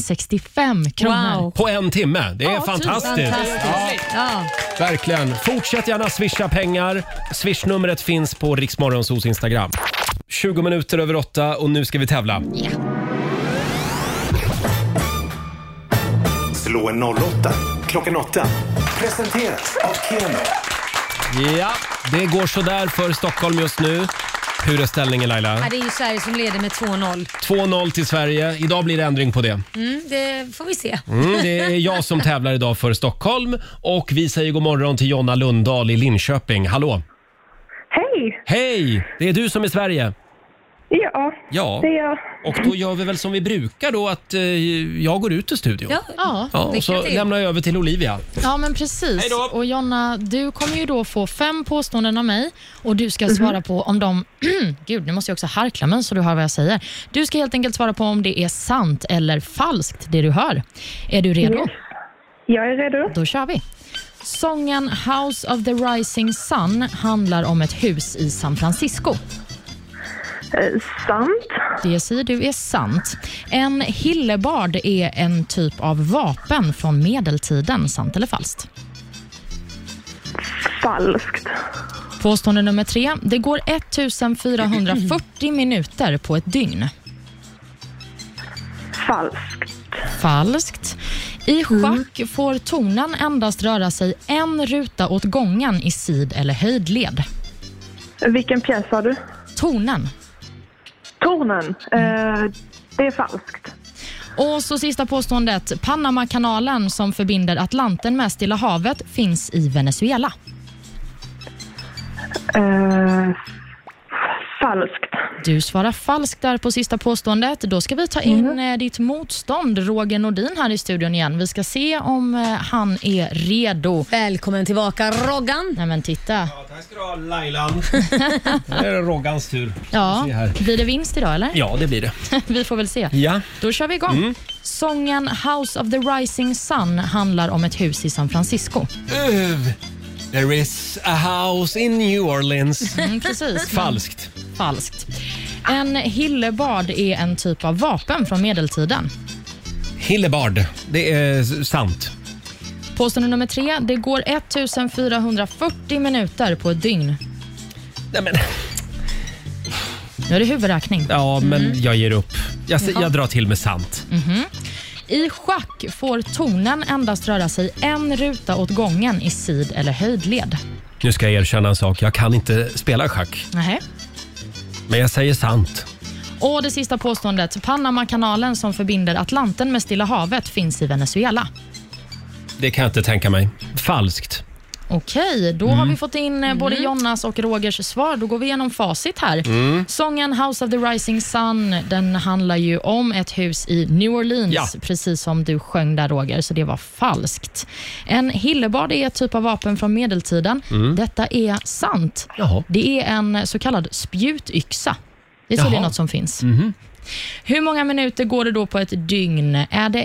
C: 065 kronor.
A: På en timme. Det är
C: Ja, tusen.
A: fantastiskt.
B: Fantastiskt. Ja.
A: Verkligen. Fortsätt gärna swisha pengar. Swishnumret finns på Riksmorgonsos Instagram. 20 minuter över åtta och nu ska vi tävla.
G: Slå en 08 klockan 8. Presenteras av Keno.
A: Ja, det går sådär för Stockholm just nu. Hur är ställningen
B: Ja,
A: Laila?
B: det är ju Sverige som leder med 2-0.
A: 2-0 till Sverige. Idag blir det ändring på det.
B: Mm, det får vi se.
A: Mm, det är jag som tävlar idag för Stockholm och vi säger god morgon till Jonna Lundahl i Linköping. Hallå!
E: Hej!
A: Hej! Det är du som är Sverige.
E: Ja,
A: Ja.
E: det är jag.
A: Och då gör vi väl som vi brukar då att eh, jag går ut ur studion.
C: Ja, ja.
A: Ja, och så lämnar jag över till Olivia.
C: Ja, men precis. Och Jonna, du kommer ju då få fem påståenden av mig och du ska svara på om de... Gud, nu måste jag också harkla mig så du hör vad jag säger. Du ska helt enkelt svara på om det är sant eller falskt, det du hör. Är du redo?
E: Yes. Jag är redo.
C: Då kör vi. Sången House of the Rising Sun handlar om ett hus i San Francisco.
E: Eh, sant.
C: Det säger du är sant. En hillebard är en typ av vapen från medeltiden. Sant eller falskt?
E: Falskt.
C: Påstående nummer tre. Det går 1440 minuter på ett dygn.
E: Falskt.
C: Falskt. I schack får tonen endast röra sig en ruta åt gången i sid eller höjdled.
E: Vilken pjäs har du?
C: Tonen.
E: Tornen. Eh, det är falskt.
C: Och så sista påståendet. Panamakanalen som förbinder Atlanten med Stilla havet finns i Venezuela.
E: Eh, falskt.
C: Du svarar falskt där på sista påståendet. Då ska vi ta in eh, ditt motstånd, Roger Nordin, här i studion igen. Vi ska se om eh, han är redo.
B: Välkommen tillbaka Roggan.
C: Nej men titta.
A: Tack ska du ha Lailan. Nu är det Roggans tur.
C: Ja,
A: Se här.
C: blir det vinst idag eller?
A: Ja, det blir det.
C: vi får väl se.
A: Ja.
C: Då kör vi igång.
A: Mm.
C: Sången House of the Rising Sun handlar om ett hus i San Francisco.
A: There is a house in New Orleans.
C: Mm, precis.
A: Falskt.
C: Falskt. En hillebard är en typ av vapen från medeltiden.
A: Hillebard. Det är s- sant.
C: Påstående nummer tre. Det går 1440 minuter på ett dygn.
A: Nej, men.
C: Nu är det huvudräkning.
A: Ja, men jag ger upp. Jag, s-
C: Ja.
A: jag drar till med sant.
C: Mhm. I schack får tonen endast röra sig en ruta åt gången i sid eller höjdled.
A: Nu ska jag erkänna en sak. Jag kan inte spela schack,
C: Nähä.
A: men jag säger sant.
C: Och det sista påståendet. Panamakanalen som förbinder Atlanten med Stilla havet finns i Venezuela.
A: Det kan jag inte tänka mig. Falskt.
C: Okej, då
A: Mm.
C: har vi fått in eh, både Jonas och Rogers svar. Då går vi igenom facit här.
A: Mm.
C: Sången House of the Rising Sun den handlar ju om ett hus i New Orleans,
A: Ja.
C: precis som du sjöng där Roger, så det var falskt. En hillebard är ett typ av vapen från medeltiden.
A: Mm.
C: Detta är sant.
A: Jaha.
C: Det är en så kallad spjutyxa. Det är
A: Jaha. Mhm.
C: tydligen något som finns. Hur många minuter går det då på ett dygn? Är det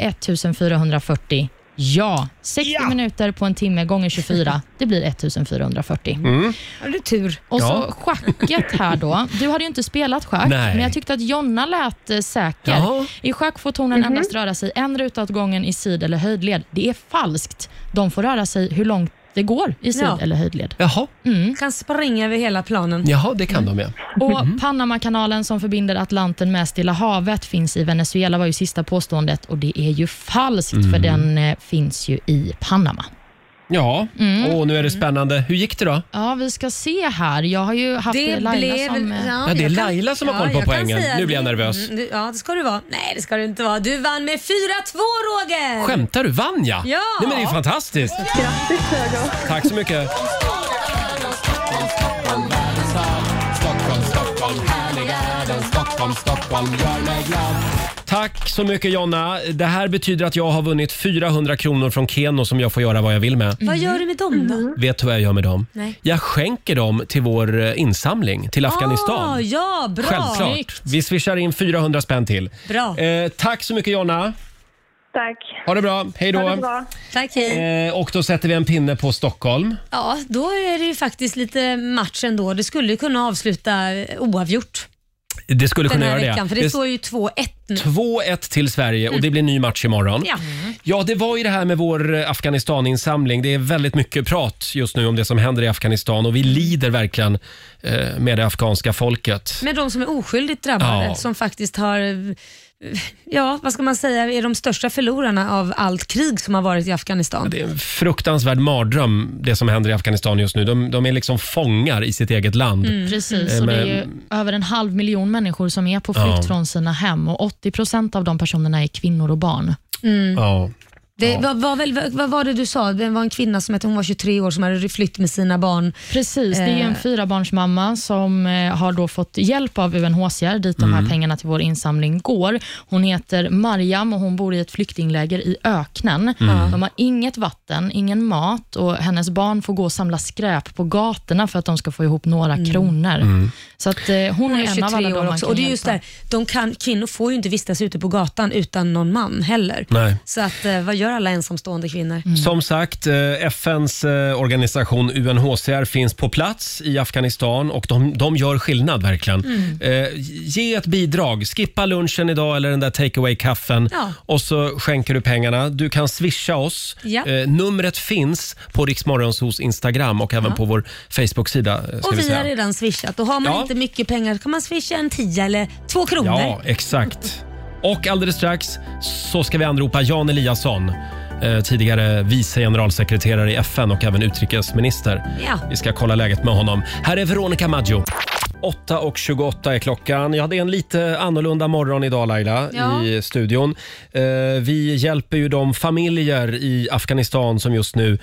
C: 1440? Ja, 60 minuter på en timme gånger 24. Det blir 1440.
A: Mm.
B: Har du tur?
C: Och
A: Ja.
C: så schacket här då. Du hade ju inte spelat schack,
A: Nej.
C: men jag tyckte att Jonna lät eh, säker.
A: Jaha. Mhm.
C: I schack får tonen endast röra sig en ruta åt gången i sid eller höjdled. Det är falskt. De får röra sig hur långt det går i sid
B: Ja.
C: eller höjdled.
A: Jaha.
B: Kan springa över hela planen.
A: Jaha, det kan de ja.
C: Och Panamakanalen som förbinder Atlanten med Stilla havet finns i Venezuela var ju sista påståendet och det är ju falskt för den eh, finns ju i Panama.
A: Ja, och nu är det spännande. Hur gick det då?
C: Ja, vi ska se här. Jag har ju haft
B: Det
C: Laila
B: blev...
C: som... eh,
A: Ja, det är
B: jag
A: Laila som har koll på
B: jag kan
A: poängen.
B: säga
A: Nu blir jag
B: det-
A: nervös.
B: Mm, du- Ja, det ska du vara. Nej, det ska du inte vara. Du vann med 4-2 Roger!
A: Skämtar du? Vann jag?
B: Ja.
A: Nej, men det är ju fantastiskt!
E: Grattis Hugo!
A: Tack så mycket. Tack så mycket Jonna. Det här betyder att jag har vunnit 400 kronor från Keno som jag får göra vad jag vill med.
B: Vad gör du med dem då?
A: Vet du vad jag gör med dem?
B: Mm. Nej.
A: Jag skänker dem till vår eh, insamling till Afghanistan.
B: Ah, ja, bra.
A: Självklart. Vi swishar in 400 spänn till.
B: Bra.
A: Eh, tack så mycket Jonna.
E: Tack!
A: Ha det bra. Hej då.
E: Ha det bra.
B: Tack, hej.
A: Eh, och då sätter vi en pinne på Stockholm.
B: Ja, då är det ju faktiskt lite match ändå. Det skulle ju kunna avsluta eh, oavgjort
A: Det skulle
B: den
A: kunna
B: här
A: göra
B: veckan.
A: det.
B: För det, står ju 2-1 nu.
A: 2-1 till Sverige och det blir ny match imorgon.
B: Ja.
A: Ja, det var ju det här med vår eh, Afghanistan-insamling. Det är väldigt mycket prat just nu om det som händer i Afghanistan och vi lider verkligen eh, med det afghanska folket.
B: Med de som är oskyldigt drabbade,
A: Ja.
B: som faktiskt har, eh, ja vad ska man säga, är de största förlorarna av allt krig som har varit i Afghanistan.
A: Det är en fruktansvärd mardröm det som händer i Afghanistan just nu. De, de är liksom fångar i sitt eget land.
B: Mm.
C: Mm. Precis, och det är ju över en halv miljon människor som är på flykt
A: Ja.
C: från sina hem och 80 procent av de personerna är kvinnor och barn.
A: Ja.
B: Det var, var väl, vad vad var det du sa? Det var en kvinna som hette, hon var 23 år som hade flytt med sina barn.
C: Precis, det är
B: Eh.
C: ju en fyrabarnsmamma som eh, har då fått hjälp av UNHCR dit de här pengarna till vår insamling går. Hon heter Mariam och hon bor i ett flyktingläger i öknen. De har inget vatten, ingen mat och hennes barn får gå och samla skräp på gatorna för att de ska få ihop några kronor. Så att eh, hon
B: Mm. Hon
C: är
B: är
C: en av alla
B: 23
C: de
B: år
C: man
B: också.
C: kan
B: Och det är just
C: hjälpa.
B: där, de kan, kvinnor får ju inte vistas ute på gatan utan någon man heller.
A: Nej.
B: Så att, eh, vad gör alla ensamstående kvinnor?
A: Som sagt, eh, FNs eh, organisation UNHCR finns på plats i Afghanistan och de, de gör skillnad verkligen.
B: Mm.
A: Eh, Ge ett bidrag, skippa lunchen idag eller den där take away-kaffen
B: Ja.
A: och så skänker du pengarna. Du kan swisha oss.
B: Ja.
A: Eh, Numret finns på Riksmorgonsos Instagram och även på vår Facebook-sida. eh, Ska
B: Och
A: vi
B: vi
A: säga.
B: har redan swishat och har man
A: Ja.
B: inte mycket pengar kan man swisha en 10 eller 2 kronor.
A: Ja, exakt. Och alldeles strax så ska vi anropa Jan Eliasson, eh, tidigare vice generalsekreterare i FN och även utrikesminister.
B: Ja.
A: Vi ska kolla läget med honom. Här är Veronica Maggio. 8.28 är klockan. Jag hade en lite annorlunda morgon idag Laila
B: Ja.
A: i studion. Eh, Vi hjälper ju de familjer i Afghanistan som just nu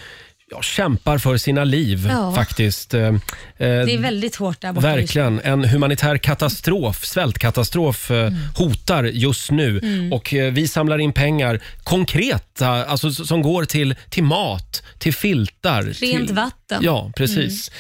A: ja, kämpar för sina liv
B: Ja.
A: faktiskt. Eh, eh,
B: Det är väldigt hårt där borta. just nu.
A: Verkligen. En humanitär katastrof, svältkatastrof,
B: Mm.
A: eh, hotar just nu. Och eh, Vi samlar in pengar, konkreta, alltså, s- som går till, till mat, till filtar. Rent till,
B: vatten. Mm.
A: Ja, precis.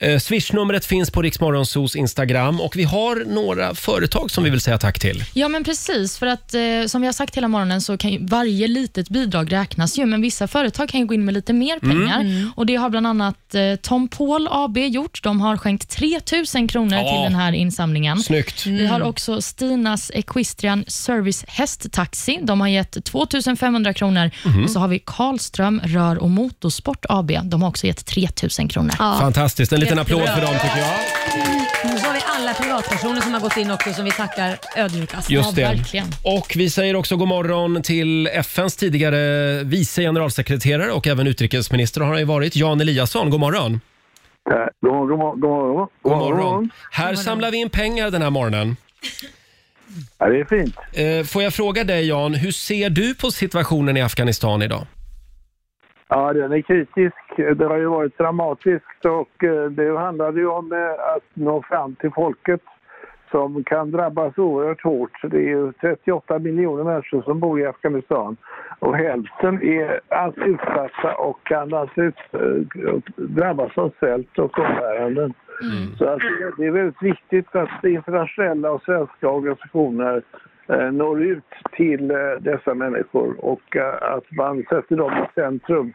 A: Eh, Swishnumret finns på Riksmorgonsos Instagram och vi har några företag som vi vill säga tack till.
B: Mm.
C: Ja, men precis. För att eh, som vi har sagt hela morgonen så kan ju varje litet bidrag räknas ju, men vissa företag kan ju gå in med lite mer pengar. Och Det har bland annat eh, Tom Paul AB gjort. De har skänkt 3 000 kronor
A: Ja.
C: till den här insamlingen.
A: Snyggt.
C: Vi har också Stinas Equestrian Service hästtaxi. De har gett 2 500 kronor. Och så har vi Karlström Rör och Motorsport AB. De har också gett 3 000 kronor.
A: Fantastiskt. En liten applåd
B: Jättebra.
A: för dem tycker jag.
B: Och så har vi alla privatpersoner som har gått in också som vi tackar ödmjukast.
A: Just det.
C: Ja, verkligen.
A: Och vi säger också god morgon till FNs tidigare vice generalsekreterare och även utrikesminister har han ju varit, Jan Eliasson. God morgon.
I: Eh, God morgon, god morgon, god morgon.
A: God morgon. Här samlar vi in pengar den här morgonen.
I: Ja, det är fint.
A: Eh, Får jag fråga dig Jan, hur ser du på situationen i Afghanistan idag?
I: Ja, den är kritisk. Det har ju varit dramatiskt och eh, det handlade ju om eh, att nå fram till folket som kan drabbas oerhört hårt. Det är ju 38 miljoner människor som bor i Afghanistan och hälften är alltså utsatta och kan alltså ut, eh, drabbas av svält och umbäranden. Så att det är väldigt viktigt att internationella och svenska organisationer eh, når ut till eh, dessa människor och eh, att man sätter dem i centrum.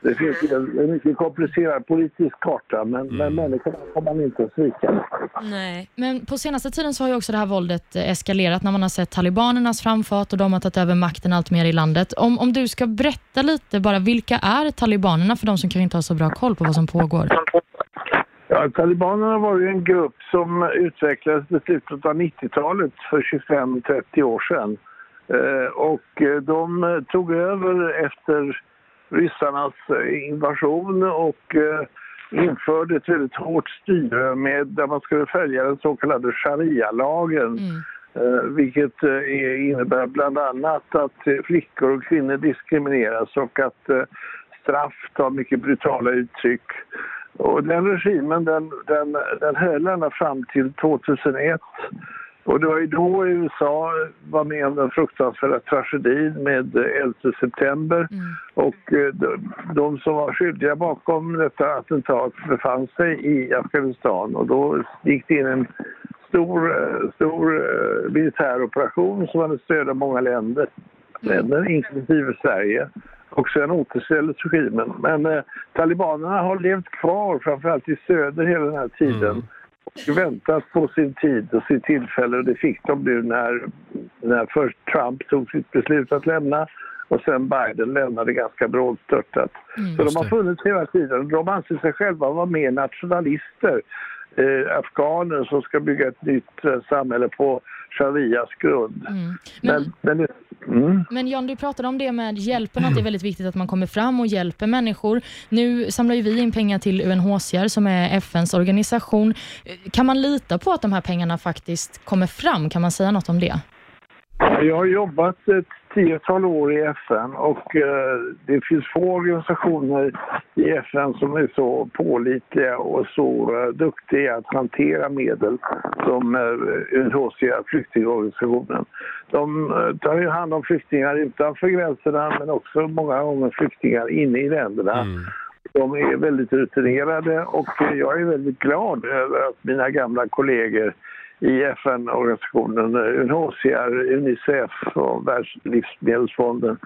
I: Det finns ju en, en mycket komplicerad politisk karta men, men människorna får man inte svika.
B: Nej.
C: Men på senaste tiden så har ju också det här våldet eh, eskalerat när man har sett talibanernas framfart och de har tagit över makten allt mer i landet. Om, om du ska berätta lite bara, vilka är talibanerna för de som kanske inte har så bra koll på vad som pågår?
I: Ja, talibanerna var ju en grupp som utvecklades i slutet av 90-talet för 25-30 år sedan. Eh, och eh, de eh, tog över efter
J: ryssarnas eh, invasion och eh, införde ett väldigt hårt styre med, där man skulle följa den så kallade sharia-lagen. Eh, vilket eh, är- innebär bland annat att eh, flickor och kvinnor diskrimineras och att eh, straff tar mycket brutala uttryck. Och den regimen den, den, den höll ända fram till 2001 och det var ju då USA var med om den fruktansvärda tragedin med eh, 11 september. Och eh, de, de som var skyldiga bakom detta attentat befann sig i Afghanistan och då gick det in en stor, eh, stor eh, militär operation som hade stöd av många länder, länder inklusive Sverige. Och sen återställdes regimen. Men eh, talibanerna har levt kvar, framförallt i söder hela den här tiden och väntat på sin tid och sitt tillfälle och det fick de nu när, när först Trump tog sitt beslut att lämna och sen Biden lämnade ganska brådstörtat. så de har funnits hela tiden. De anser sig själva vara mer nationalister, eh, afghaner som ska bygga ett nytt eh, samhälle på sharias grund. Men, men, mm.
C: Men Jan, du pratade om det med hjälpen, att det är väldigt viktigt att man kommer fram och hjälper människor. Nu samlar ju vi in pengar till UNHCR som är FNs organisation. Eh, Kan man lita på att de här pengarna faktiskt kommer fram? Kan man säga något om det?
J: Jag har jobbat ett tiotal år i FN och eh, det finns få organisationer i FN som är så pålitliga och så eh, duktiga att hantera medel som eh, UNHCR, flyktingorganisationen. De eh, tar ju hand om flyktingar utanför gränserna men också många gånger flyktingar inne i länderna. De är väldigt rutinerade och jag är väldigt glad över att mina gamla kollegor i FN-organisationen UNHCR, Unicef och Världslivsmedelsfonden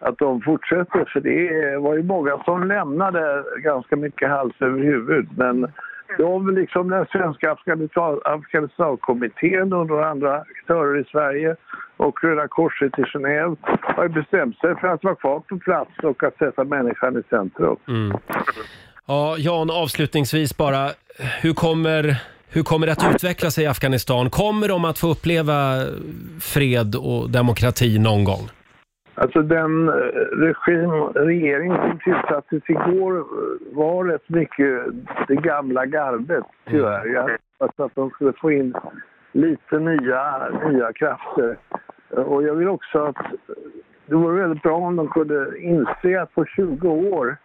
J: att de fortsätter, för det var ju många som lämnade ganska mycket hals över huvud. Men de, liksom den svenska Afghanistan- Afghanistankommittén och några andra aktörer i Sverige och Röda Korset i Genève har ju bestämt sig för att vara kvar på plats och att sätta människan i centrum.
A: Ja, Jan, avslutningsvis bara. Hur kommer, hur kommer det att utveckla sig i Afghanistan? Kommer de att få uppleva fred och demokrati någon gång?
J: Alltså den eh, regim, regering som tillsattes igår eh, var rätt mycket det gamla gardet tyvärr. Jag hade hoppats att de skulle få in lite nya, nya krafter. Eh, Och jag vill också att eh, det vore väldigt bra om de kunde inse att på 20 år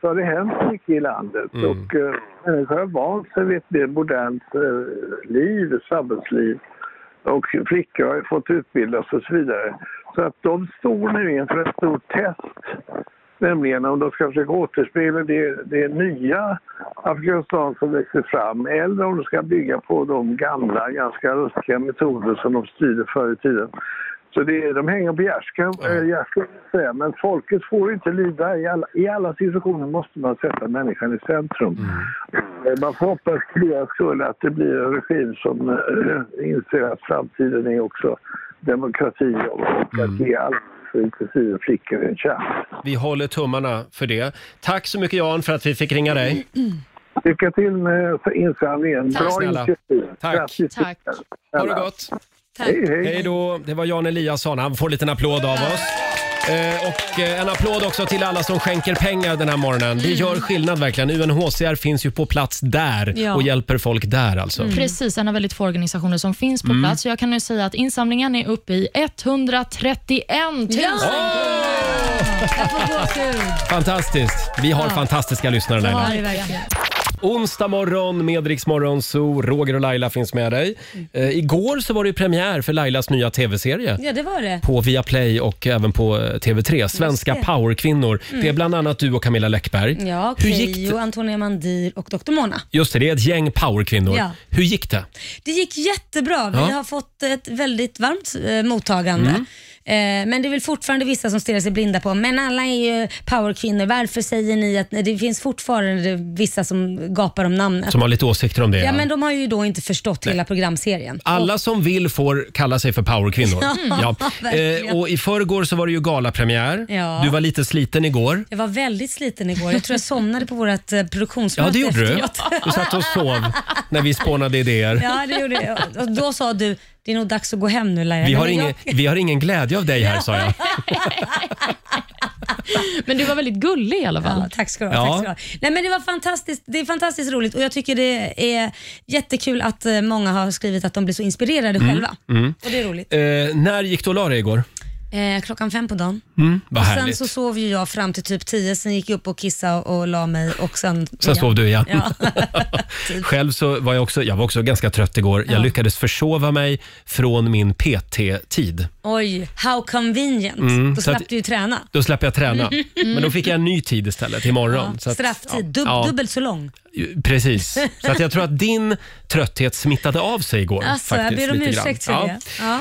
J: så har det hänt mycket i landet.
H: Mm.
J: Och eh, människor har vant sig vid ett mer modernt eh, liv, samhällsliv och flickor har ju fått utbildas och så vidare. Så att de står nu inför ett stort test, nämligen om de ska försöka återspegla det, det nya Afghanistan som växer fram eller om de ska bygga på de gamla, ganska ruskiga metoder som de styrde förr i tiden. Så det, är- de hänger på gärdsgården, äh, gärdsgården, så att säga. men folket får inte lida. I alla, I alla situationer måste man sätta människan i centrum.
A: Mm.
J: Eh, Man får hoppas för deras skull att det blir en regim som eh, inser att framtiden är också demokrati och
A: Mm.
J: att ge alla, inklusive flickor, en chans.
A: Vi håller tummarna för det. Tack så mycket Jan för att vi fick ringa dig.
J: Lycka till med insamlingen.
A: Tack
J: Bra
A: snälla.
J: initiativ.
A: Tack.
J: Grattis.
C: Tack.
A: Ha det gott.
J: Hej, hej.
A: Hej då. Det var Jan Eliasson. Han får en liten applåd av oss. Eh, och eh, en applåd också till alla som skänker pengar den här morgonen. Det gör skillnad verkligen. UNHCR finns ju på plats där
C: Ja.
A: och hjälper folk där alltså.
B: Mm.
C: Precis, en av väldigt få organisationer som finns på
A: Mm.
C: plats. Så jag kan nu säga att insamlingen är uppe i 131 000
B: Jag får gåshud.
A: Fantastiskt. Vi har
B: Ja.
A: fantastiska lyssnare
B: Jag
A: Laila.
B: har det verkligen.
A: Onsdag morgon med Rix Morgon Zoo. Roger och Laila finns med dig. Eh, igår så var det ju premiär för Lailas nya tv-serie.
B: Ja, det var det.
A: På Viaplay och även på eh, TV3. Svenska
B: det.
A: powerkvinnor.
B: Mm.
A: Det är bland annat du och Camilla Läckberg.
B: Ja,
A: Hur gick
B: Keyyo, Antonia Mandir och Dr. Mona.
A: Just det, det är ett gäng powerkvinnor.
B: Ja.
A: Hur gick det?
B: Det gick jättebra. Vi
A: Ja. Mm.
B: har fått ett väldigt varmt eh, mottagande. Eh, men det är väl fortfarande vissa som stirrar sig blinda på, men alla är ju powerkvinnor. Varför säger ni att det finns fortfarande vissa som gapar om namnet?
A: Som har lite åsikter om det.
B: Ja, men de har ju då inte förstått hela programserien.
A: Alla som vill får kalla sig för powerkvinnor.
B: Ja, verkligen.
A: Eh, och I förrgår så var det ju galapremiär.
B: Ja.
A: Du var lite sliten igår.
B: Jag var väldigt sliten igår. Jag tror jag somnade på vårt eh,
A: Ja,
B: produktionsmöte
A: det gjorde du.
B: efteråt.
A: Du satt och sov när vi spånade idéer.
B: Ja, det gjorde jag. Och då sa du, det är nog dags att gå hem nu Laila.
A: Vi
B: Nej,
A: har,
B: men jag-
A: ingen, vi har ingen glädje av dig här, sa jag.
C: Men du var väldigt gullig i alla fall.
B: Ja, tack ska du ha. Tack ska du ha. Nej, men det, var fantastiskt, det är fantastiskt roligt och jag tycker det är jättekul att eh, många har skrivit att de blir så inspirerade
A: Mm,
B: själva.
A: mm.
B: Och det är roligt.
A: Eh, när gick du och la dig igår?
B: Eh, klockan fem på dagen.
A: Mm, vad
B: och sen
A: härligt.
B: så sov ju jag fram till typ tio, sen gick jag upp och kissade och la mig och sen...
A: Sen sov du igen.
B: Ja.
A: Själv så var jag också, jag var också ganska trött igår. Jag
B: Ja.
A: lyckades försova mig från min PT-tid.
B: Oj, how convenient.
A: Mm,
B: Då
A: så att-
B: slapp du ju träna.
A: Då släppte jag träna.
B: Mm.
A: Men då fick jag en ny tid istället imorgon. Så att-
B: Strafftid, dub-
A: Ja.
B: dubbelt så lång.
A: Ju- Precis. Så att jag tror att din trötthet smittade av sig igår.
B: Alltså, jag
A: faktiskt,
B: ber om
A: lite grann.
B: ursäkt för
A: Ja.
B: det. Ja.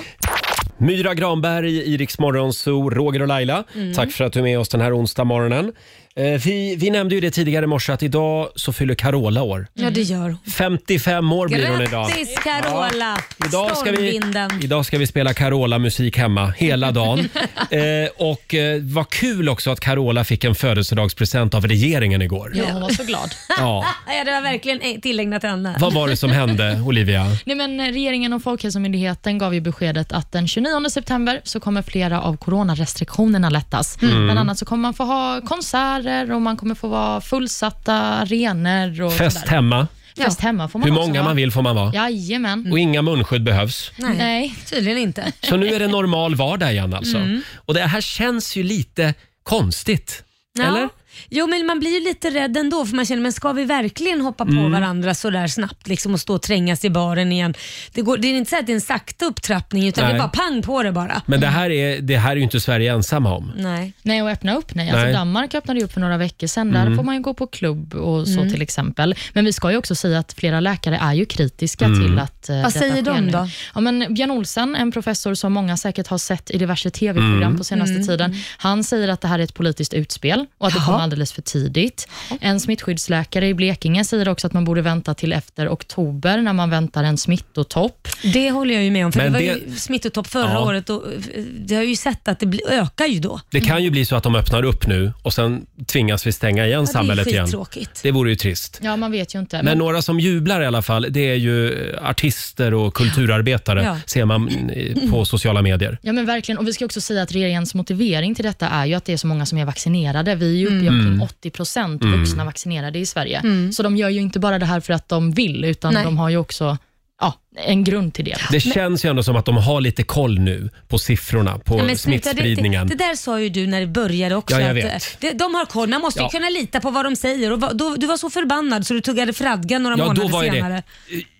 A: Myra Granberg i Rix Morgonzoo, Roger och Laila.
B: Mm.
A: Tack för att du är med oss den här onsdag morgonen. Eh, vi, vi nämnde ju det tidigare i morse att idag så fyller Carola år.
B: ja, det gör hon.
A: 55 år blir hon idag.
B: Grattis Carola!
A: Idag ska, vi,
B: Stormvinden.
A: idag ska vi spela Carola-musik hemma hela dagen. eh, och eh, vad kul också att Carola fick en födelsedagspresent av regeringen igår.
C: Ja, hon var så glad.
A: Ja.
B: Ja, det var verkligen eh, tillägnat henne.
A: Vad var det som hände, Olivia?
C: Nej, men eh, regeringen och Folkhälsomyndigheten gav ju beskedet att den 29 september så kommer flera av coronarestriktionerna lättas.
A: Mm.
C: Bland annat så kommer man få ha konserter och man kommer få vara fullsatta arenor. Och
A: Fest
C: sådär.
A: hemma.
C: Fest hemma får man
A: Hur
C: också
A: många
C: ha.
A: man vill får man vara.
C: Jajamän.
A: Och inga munskydd behövs.
B: Nej, tydligen inte.
A: Så nu är det normal vardag igen alltså.
B: Mm.
A: Och det här känns ju lite konstigt.
B: Ja.
A: Eller?
B: Jo, men man blir ju lite rädd ändå för man känner, men ska vi verkligen hoppa på
A: Mm.
B: varandra så där snabbt liksom, och stå och trängas i baren igen? Det, går, det är inte så att det är en sakta upptrappning utan
A: Nej.
B: det är bara pang på det bara.
A: Men det här är, det här är ju inte Sverige ensamma om.
B: Nej.
C: Nej, och öppna upp nej. Alltså,
A: Nej.
C: Danmark öppnade ju upp för några veckor sedan. Där
A: Mm.
C: får man ju gå på klubb och så
B: Mm.
C: till exempel. Men vi ska ju också säga att flera läkare är ju kritiska
A: Mm.
C: till att eh,
B: Vad
C: detta
B: säger de
C: sker nu.
B: då?
C: Ja, men Björn Olsen, en professor som många säkert har sett i diverse tv-program
H: Mm.
C: på senaste
H: Mm.
C: tiden, han säger att det här är ett politiskt utspel och att det kom alldeles för tidigt. En smittskyddsläkare i Blekinge säger också att man borde vänta till efter oktober när man väntar en smittotopp.
B: Det håller jag ju med om, för
A: Men
B: det var
A: det-
B: ju smittotopp förra
A: Ja.
B: året och eh, det har ju sett att det bli, ökar ju då.
A: Det kan ju bli så att de öppnar upp nu och sen tvingas vi stänga igen
B: Ja, det är
A: samhället igen.
B: skittråkigt.
A: Det vore ju trist.
C: Ja, man vet ju inte.
A: Men några som jublar i alla fall, det är ju eh, artister och kulturarbetare,
C: Ja.
A: ser man eh, på sociala medier.
C: Ja men verkligen, och vi ska också säga att regeringens motivering till detta är ju att det är så många som är vaccinerade. Vi är ju uppe i
A: Mm.
C: omkring 80 procent
A: Mm.
C: vuxna vaccinerade i Sverige.
B: Mm.
C: Så de gör ju inte bara det här för att de vill, utan
B: Nej.
C: de har ju också ja, en grund till det.
A: Det känns ju ändå som att de har lite koll nu på siffrorna, på
B: Ja, men sluta,
A: smittspridningen.
B: Det, det där sa ju du när det började också.
A: Ja, jag
B: att,
A: vet.
B: eh, det- de har koll, man måste
A: Ja.
B: ju kunna lita på vad de säger. Och vad, då, du var så förbannad så du tuggade fradga några
A: ja,
B: månader
A: då var ju
B: senare.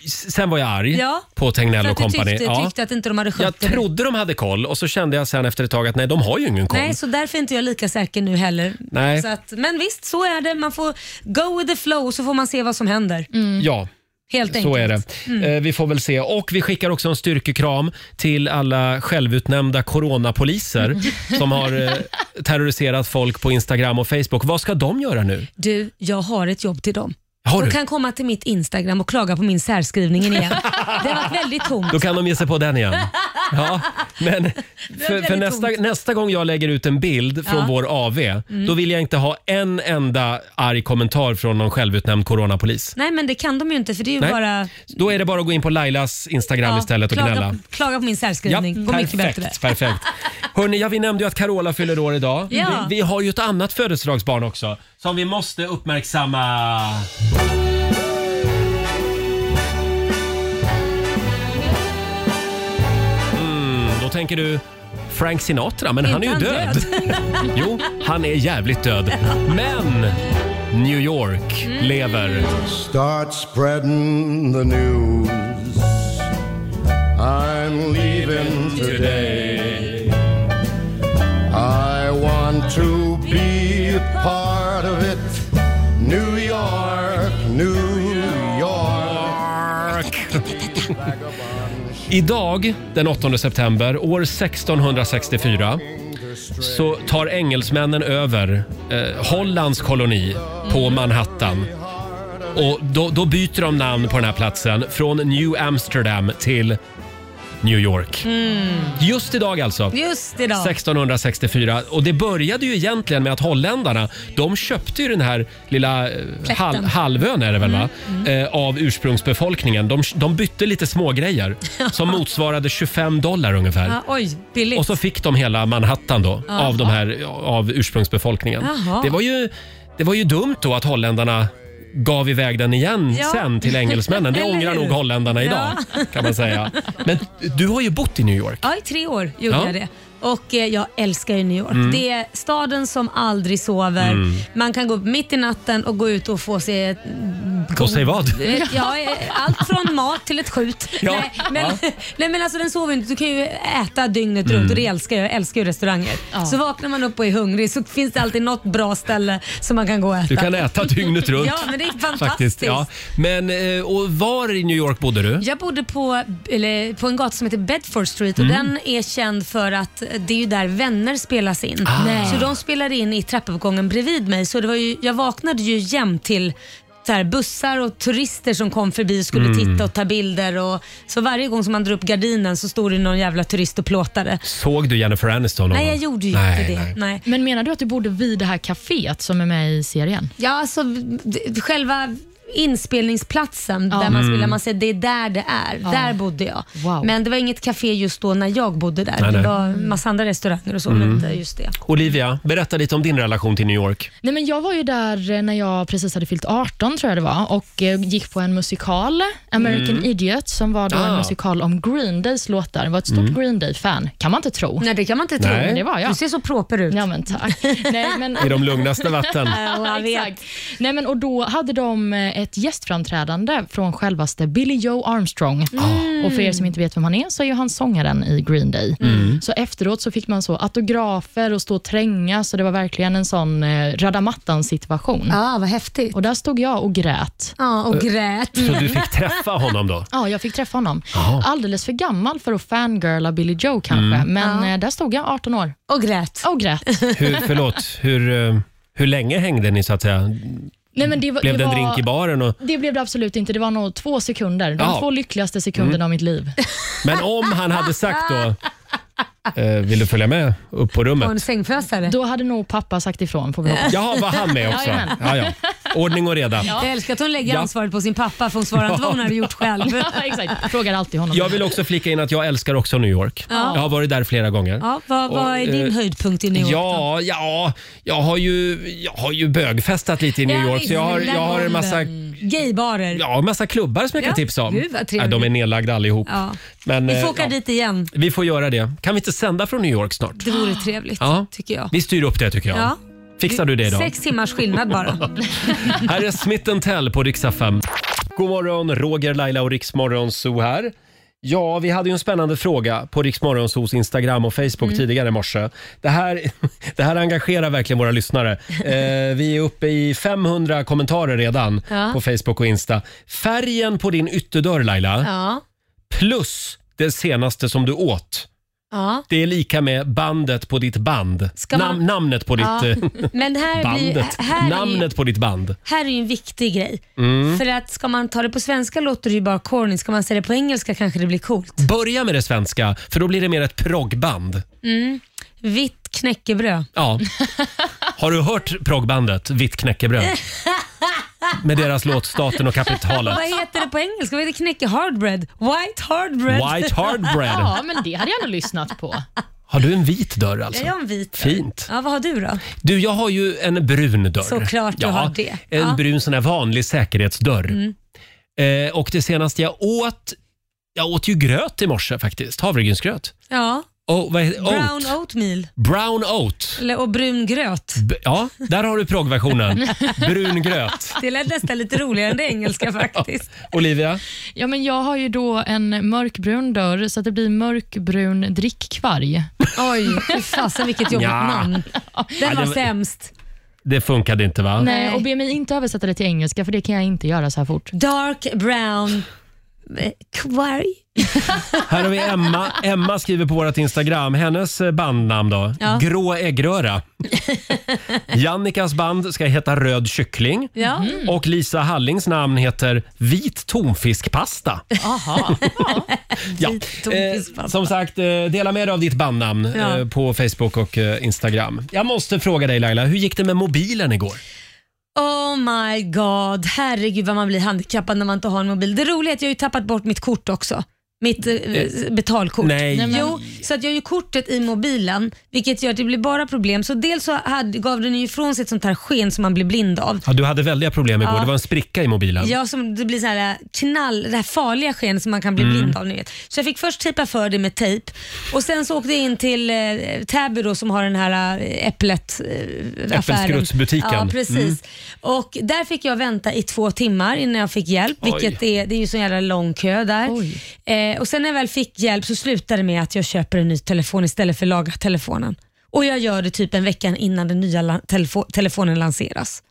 A: det. Sen var jag arg
B: Ja,
A: på Tegnell och
B: För att du
A: kompani.
B: tyckte, tyckte att inte de hade
A: Jag
B: skött det.
A: trodde de hade koll och så kände jag sen efter ett tag att nej, de har ju ingen koll.
B: Nej, så därför är inte jag lika säker nu heller.
A: Nej.
B: Så att, men visst, så är det. Man får go with the flow så får man se vad som händer.
A: Ja.
B: Helt
A: Mm. Så
B: enkelt.
A: är det.
B: Mm.
A: Eh, Vi får väl se. Och vi skickar också en styrkekram till alla självutnämnda coronapoliser som har eh, terroriserat folk på Instagram och Facebook. Vad ska de göra nu?
B: Du, jag har ett jobb till dem.
A: Har
B: de
A: du?
B: kan komma till mitt Instagram och klaga på min särskrivningen igen. det har varit väldigt tomt.
A: Då kan de ge sig på den igen. Ja, men för,
B: väldigt
A: för nästa,
B: tomt.
A: nästa gång jag lägger ut en bild från
B: Ja. Mm.
A: vår AV då vill jag inte ha en enda arg kommentar från någon självutnämnd coronapolis.
B: Nej, men det kan de ju inte för det är ju
A: Nej.
B: bara...
A: Då är det bara att gå in på Lailas Instagram
B: Ja,
A: istället och
B: klaga,
A: gnälla.
B: klaga på min
A: Ja,
B: särskrivning. Går mycket bättre.
A: perfekt. perfekt. Hörrni, ja, vi nämnde ju att Carola fyller år idag.
B: Ja.
A: Vi, vi har ju ett annat födelsedagsbarn också som vi måste uppmärksamma. Mm, då tänker du Frank Sinatra, men han är ju
B: Inte
A: död. Jo, han är jävligt död. Men New York
B: Mm.
A: lever.
K: Start spreading the news. I'm leaving today. I want to be a part of it. New York, New York.
A: Idag, den 8 september, år 1664 så tar engelsmännen över eh, Hollands koloni på Manhattan. Och då, då byter de namn på den här platsen från New Amsterdam till New York.
B: Mm.
A: Just idag alltså.
B: Just idag.
A: 1664. Och det började ju egentligen med att holländarna, de köpte ju den här lilla eh,
B: Plätten.
A: hal- halvön är det väl va?
B: Mm,
A: Eh, av ursprungsbefolkningen. De, de bytte lite smågrejer som motsvarade 25 dollar ungefär.
B: Ja, oj, billigt.
A: Och så fick de hela Manhattan då
B: Jaha.
A: av, de här, av ursprungsbefolkningen.
B: Jaha.
A: Det var, ju, det var ju dumt då att holländarna gav iväg den igen
B: Ja.
A: sen till engelsmännen. Det
B: Eller
A: ångrar
B: hur?
A: nog holländarna idag
B: Ja.
A: kan man säga. Men du har ju bott i New York.
B: Ja, i tre år gjorde
A: Ja.
B: jag det. Och eh, jag älskar ju New York.
A: Mm.
B: Det är staden som aldrig sover.
A: Mm.
B: Man kan gå upp mitt i natten och gå ut och få se...
A: Gå och säg vad?
B: Eh, Ja, eh, allt från mat till ett skjut.
A: Ja.
B: Nej, men, nej men alltså den sover inte. Du kan ju äta dygnet
A: Mm.
B: runt och det älskar jag. Jag älskar ju restauranger. Så vaknar man upp och är hungrig så finns det alltid något bra ställe som man kan gå och äta.
A: Du kan äta dygnet runt.
B: ja, men det är fantastiskt.
A: Faktiskt, ja. Men, eh, och var i New York bodde du?
B: Jag bodde på, eller, på en gata som heter Bedford Street och
A: Mm.
B: den är känd för att det är ju där vänner spelas in.
A: Ah. Nej.
B: Så de spelade in i trappuppgången bredvid mig så det var ju, jag vaknade ju jämt till så här, bussar och turister som kom förbi och skulle
A: Mm.
B: titta och ta bilder. Och, så varje gång som man drog upp gardinen så stod det någon jävla turist och plåtade.
A: Såg du Jennifer Aniston? någon
B: Nej, jag
A: gång?
B: gjorde ju
A: Nej,
B: inte det.
A: nej.
B: Nej.
C: Men menar du att du bodde vid det här kaféet som är med i serien?
B: Ja, alltså d- själva inspelningsplatsen
C: Ja.
B: där man
C: Mm.
B: spelar, man säger det är där det är.
C: Ja.
B: Där bodde jag.
C: Wow.
B: Men det var inget café just då när jag bodde där.
A: Nej, nej.
B: Det var massa andra restauranger och så, men
A: Mm.
B: inte just det.
A: Olivia, berätta lite om din relation till New York.
C: Nej, men jag var ju där eh, när jag precis hade fyllt 18, tror jag det var, och eh, gick på en musikal, American
B: Mm.
C: Idiot, som var då
B: Ah.
C: en musikal om Green Days låtar. Jag var ett stort
B: Mm.
C: Green Day-fan. kan man inte tro.
B: Nej, det kan man inte tro.
C: Nej. Men det var jag.
B: Du ser så proper ut.
C: Ja, men tack. Nej, men...
A: I de lugnaste vatten.
B: Ja, jag vet.
C: Exakt. Nej, men, och då hade de eh, ett gästframträdande från självaste Billy Joe Armstrong.
A: Ah. Mm.
C: Och För er som inte vet vem han är, så är ju han sångaren i Green Day.
H: Mm.
C: Så efteråt så fick man så autografer och stå och tränga, så det var verkligen en sån eh, radamattan-situation.
B: Ja, vad häftigt.
C: Och där stod jag och grät.
B: Ja, och grät.
A: Så du fick träffa honom då?
C: Ja, jag fick träffa honom.
A: Jaha.
C: Alldeles för gammal för att fangirla Billy Joe kanske,
A: Mm.
C: men
B: Ja.
C: eh, där stod jag 18 år.
B: Och grät.
C: Och grät.
A: Hur, förlåt, hur, eh, hur länge hängde ni så att säga?
C: Nej, men det var,
A: Blev det en
C: var-
A: drink i baren? Och,
C: Det blev det absolut inte. Det var nog två sekunder. De
A: Ja.
C: två lyckligaste sekunderna
A: Mm.
C: av mitt liv.
A: men om han hade sagt då, eh, vill du följa med upp på rummet?
B: sängfösare?
C: Då hade nog pappa sagt ifrån får vi hoppas.
A: Jaha, var han med också?
C: Jajamän.
A: Ja, ja. Ordning och reda.
B: Jag älskar att hon lägger
A: Ja.
B: ansvaret på sin pappa för hon svarar inte vad hon hade gjort själv.
C: Ja, exakt. Frågar alltid honom.
A: Jag vill också flika in att jag älskar också New York.
B: Ja.
A: Jag har varit där flera gånger.
B: Ja, vad, vad är din
A: Och, eh,
B: höjdpunkt i New York?
A: Ja, ja, jag har ju, jag har ju bögfestat lite i New York så jag har, jag har en massa
B: Gaybarer.
A: Ja, en massa klubbar som jag kan
B: Ja,
A: tipsa om.
B: gud, vad
A: ja,
B: trevligt.
A: de är nedlagda allihop.
B: Ja.
A: Men,
B: Vi
A: eh,
B: får åka
A: ja,
B: dit igen.
A: vi får göra det. Kan vi inte sända från New York snart?
B: Det vore trevligt,
A: Ja.
B: tycker jag.
A: Vi styr upp det tycker jag.
B: Ja.
A: Fixar du det idag?
B: Sex timmars skillnad bara.
A: Här är Smith Tell på riksdag 5. God morgon, Roger, Laila och Riksmorgon Zoo här. Ja, vi hade ju en spännande fråga på Riksmorgonsos Instagram och Facebook
B: Mm.
A: tidigare i morse. Det här, det här engagerar verkligen våra lyssnare. Eh, vi är uppe i 500 kommentarer redan
B: Ja.
A: på Facebook och Insta. Färgen på din ytterdörr Laila,
B: Ja.
A: plus det senaste som du åt.
B: Ja.
A: Det är lika med bandet på ditt band.
B: Ska man-
A: Nam- namnet på ditt
B: Ja.
A: eh,
B: Men här, blir,
A: bandet.
B: här, är ju,
A: namnet på ditt band.
B: här är ju en viktig grej.
A: Mm.
B: För att ska man ta det på svenska låter det ju bara corny. Ska man säga det på engelska kanske det blir coolt.
A: Börja med det svenska, för då blir det mer ett proggband.
B: Mm. Vitt knäckebröd.
A: Ja. Har du hört proggbandet Vitt knäckebröd? Med deras låt Staten och kapitalet.
B: Vad heter det på engelska? Vad heter knäcke hardbread? White hardbread.
A: White hardbread.
C: Ja, men det hade jag nog lyssnat på.
A: Har du en vit dörr alltså?
B: Är jag en vit?
A: Fint.
B: Ja, vad har du då?
A: Du, jag har ju en brun dörr.
B: Såklart du har det.
A: En
B: Ja.
A: brun sån här vanlig säkerhetsdörr.
B: Mm.
A: Eh, och det senaste jag åt, jag åt ju gröt i morse faktiskt. Havregrynsgröt.
B: Ja.
A: Oh, vad heter,
B: Brown
A: oat.
B: oatmeal.
A: Brown oat.
B: Eller, och brun gröt.
A: B- ja, där har du proggversionen. Brun gröt.
B: Det lät nästan lite roligare än det engelska faktiskt.
A: Olivia?
C: Ja, men jag har ju då en mörkbrun dörr, så att det blir mörkbrun drickkvarg.
B: Oj, fy fasen vilket jobbigt
A: Ja.
B: namn.
A: Ja, det
B: Den var
A: var-
B: sämst.
A: Det funkade inte va?
C: Nej, och be mig inte översätta det till engelska, för det kan jag inte göra så här fort.
B: Dark brown eh, kvarg.
A: Här har vi Emma. Emma skriver på vårt Instagram, hennes eh, bandnamn då.
B: Ja.
A: Grå äggröra. Jannikas band ska heta Röd kyckling.
B: Ja. Mm.
A: Och Lisa Hallins namn heter Vit tonfiskpasta.
B: Aha.
A: Ja. Eh, som sagt, eh, dela med dig av ditt bandnamn
B: Ja.
A: eh, på Facebook och eh, Instagram. Jag måste fråga dig Laila, hur gick det med mobilen igår?
B: Oh my god, herregud vad man blir handikappad när man inte har en mobil. Det roliga är att jag har ju tappat bort mitt kort också. Mitt eh,
A: Eh,
B: betalkort.
A: nej. Nej, men-
B: Jo, så att jag har ju kortet i mobilen vilket gör att det blir bara problem. Så dels så hade, gav den ju ifrån sig ett sånt här sken som man blir blind av.
A: Ja, du hade väldiga problem igår,
B: Ja.
A: det var en spricka i mobilen.
B: Ja, som det blir så här äh, knall, det här farliga sken som man kan bli
A: Mm.
B: blind av. Ni vet. Så jag fick först tejpa för det med tejp och sen så åkte jag in till eh, Täby då, som har den här eh, äpplet eh, affären.
A: Äppelskrutsbutiken.
B: Ja, precis.
A: Mm.
B: Och där fick jag vänta i två timmar innan jag fick hjälp,
A: Oj.
B: vilket är, det är ju så jävla lång kö där. Eh, och sen när jag väl fick hjälp så slutade det med att jag köper en ny telefon istället för att laga telefonen. Och jag gör det typ en vecka innan den nya la- telefo- telefonen lanseras.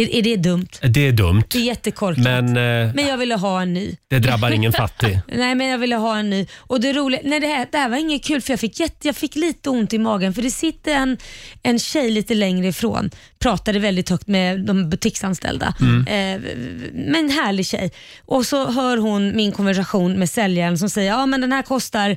B: Är, är det dumt?
A: Det är dumt,
B: Det är jättekorkat. Men,
A: Eh, men eh,
B: jag ville ha en ny.
A: det drabbar ingen fattig.
B: Nej, men jag ville ha en ny. Och det roliga, nej det här, det här var inget kul för jag fick, jätte, jag fick lite ont i magen för det sitter en, en tjej lite längre ifrån, pratade väldigt högt med de butiksanställda.
H: Mm.
B: Eh, men en härlig tjej. Och så hör hon min konversation med säljaren som säger, ja men den här kostar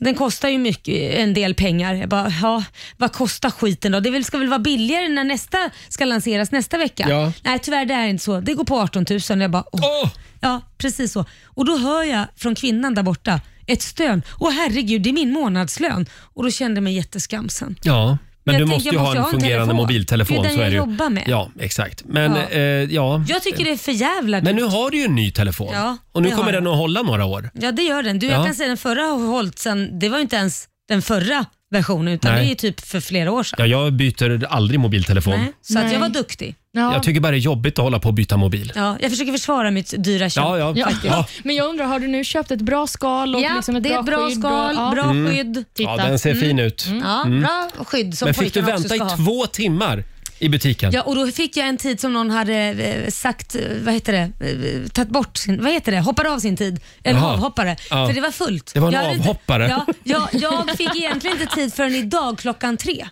B: den kostar ju mycket, en del pengar. Jag bara, ja, vad kostar skiten då? Det väl- ska väl vara billigare när nästa ska lanseras nästa vecka?
H: Ja.
B: Nej tyvärr det är inte så. Det går på 18 000. Jag bara, åh. Ja, precis så. Och då hör jag från kvinnan där borta ett stön. Åh herregud, det är min månadslön. Och då kände jag mig jätteskamsen.
A: Ja, men
B: Jag
A: du
B: tänker,
A: måste ju
B: jag
A: ha
B: måste
A: en
B: ha en
A: fungerande
B: telefon.
A: mobiltelefon.
B: Det är den
A: så är
B: jag
A: det ju.
B: jobbar med.
A: Ja, exakt. Men
B: Ja.
A: ja. Eh, ja.
B: Jag tycker det är för jävla
A: Men nu
B: dyrt.
A: har du ju en ny telefon
B: Ja,
A: och nu
B: det
A: kommer
B: har jag.
A: den att hålla några år.
B: Ja, det gör den. Du, jag
A: Ja.
B: kan säga den förra har hållit sen, det var ju inte ens den förra versionen utan
A: Nej.
B: det är ju typ för flera år sedan.
A: Ja, jag byter aldrig mobiltelefon.
B: Nej, så att jag var duktig.
A: Jag tycker bara det är jobbigt att hålla på och byta mobil.
B: Ja, jag försöker försvara mitt dyra köp.
A: Ja, ja.
B: faktiskt.
A: Ja.
C: Men jag undrar, har du nu köpt ett bra skal och
B: Ja,
C: liksom ett
B: det är
C: bra
B: ett bra
C: skydd?
B: skal,
C: och,
B: bra
A: Mm.
B: skydd.
A: Ja, den ser fin ut.
B: Ja,
A: Mm.
B: bra skydd som
A: Men fick du
B: pojkarna också
A: vänta i
B: ska ha.
A: två timmar i butiken?
B: Ja, och då fick jag en tid som någon hade eh, sagt, eh, vad heter det, eh, tagit bort sin, vad heter det, hoppade av sin tid. Eller
A: Jaha.
B: avhoppare.
A: Ja.
B: För det var fullt.
A: Det var en
B: Jag hade inte-
A: avhoppare.
B: Ja, jag, jag fick egentligen inte tid förrän idag klockan tre.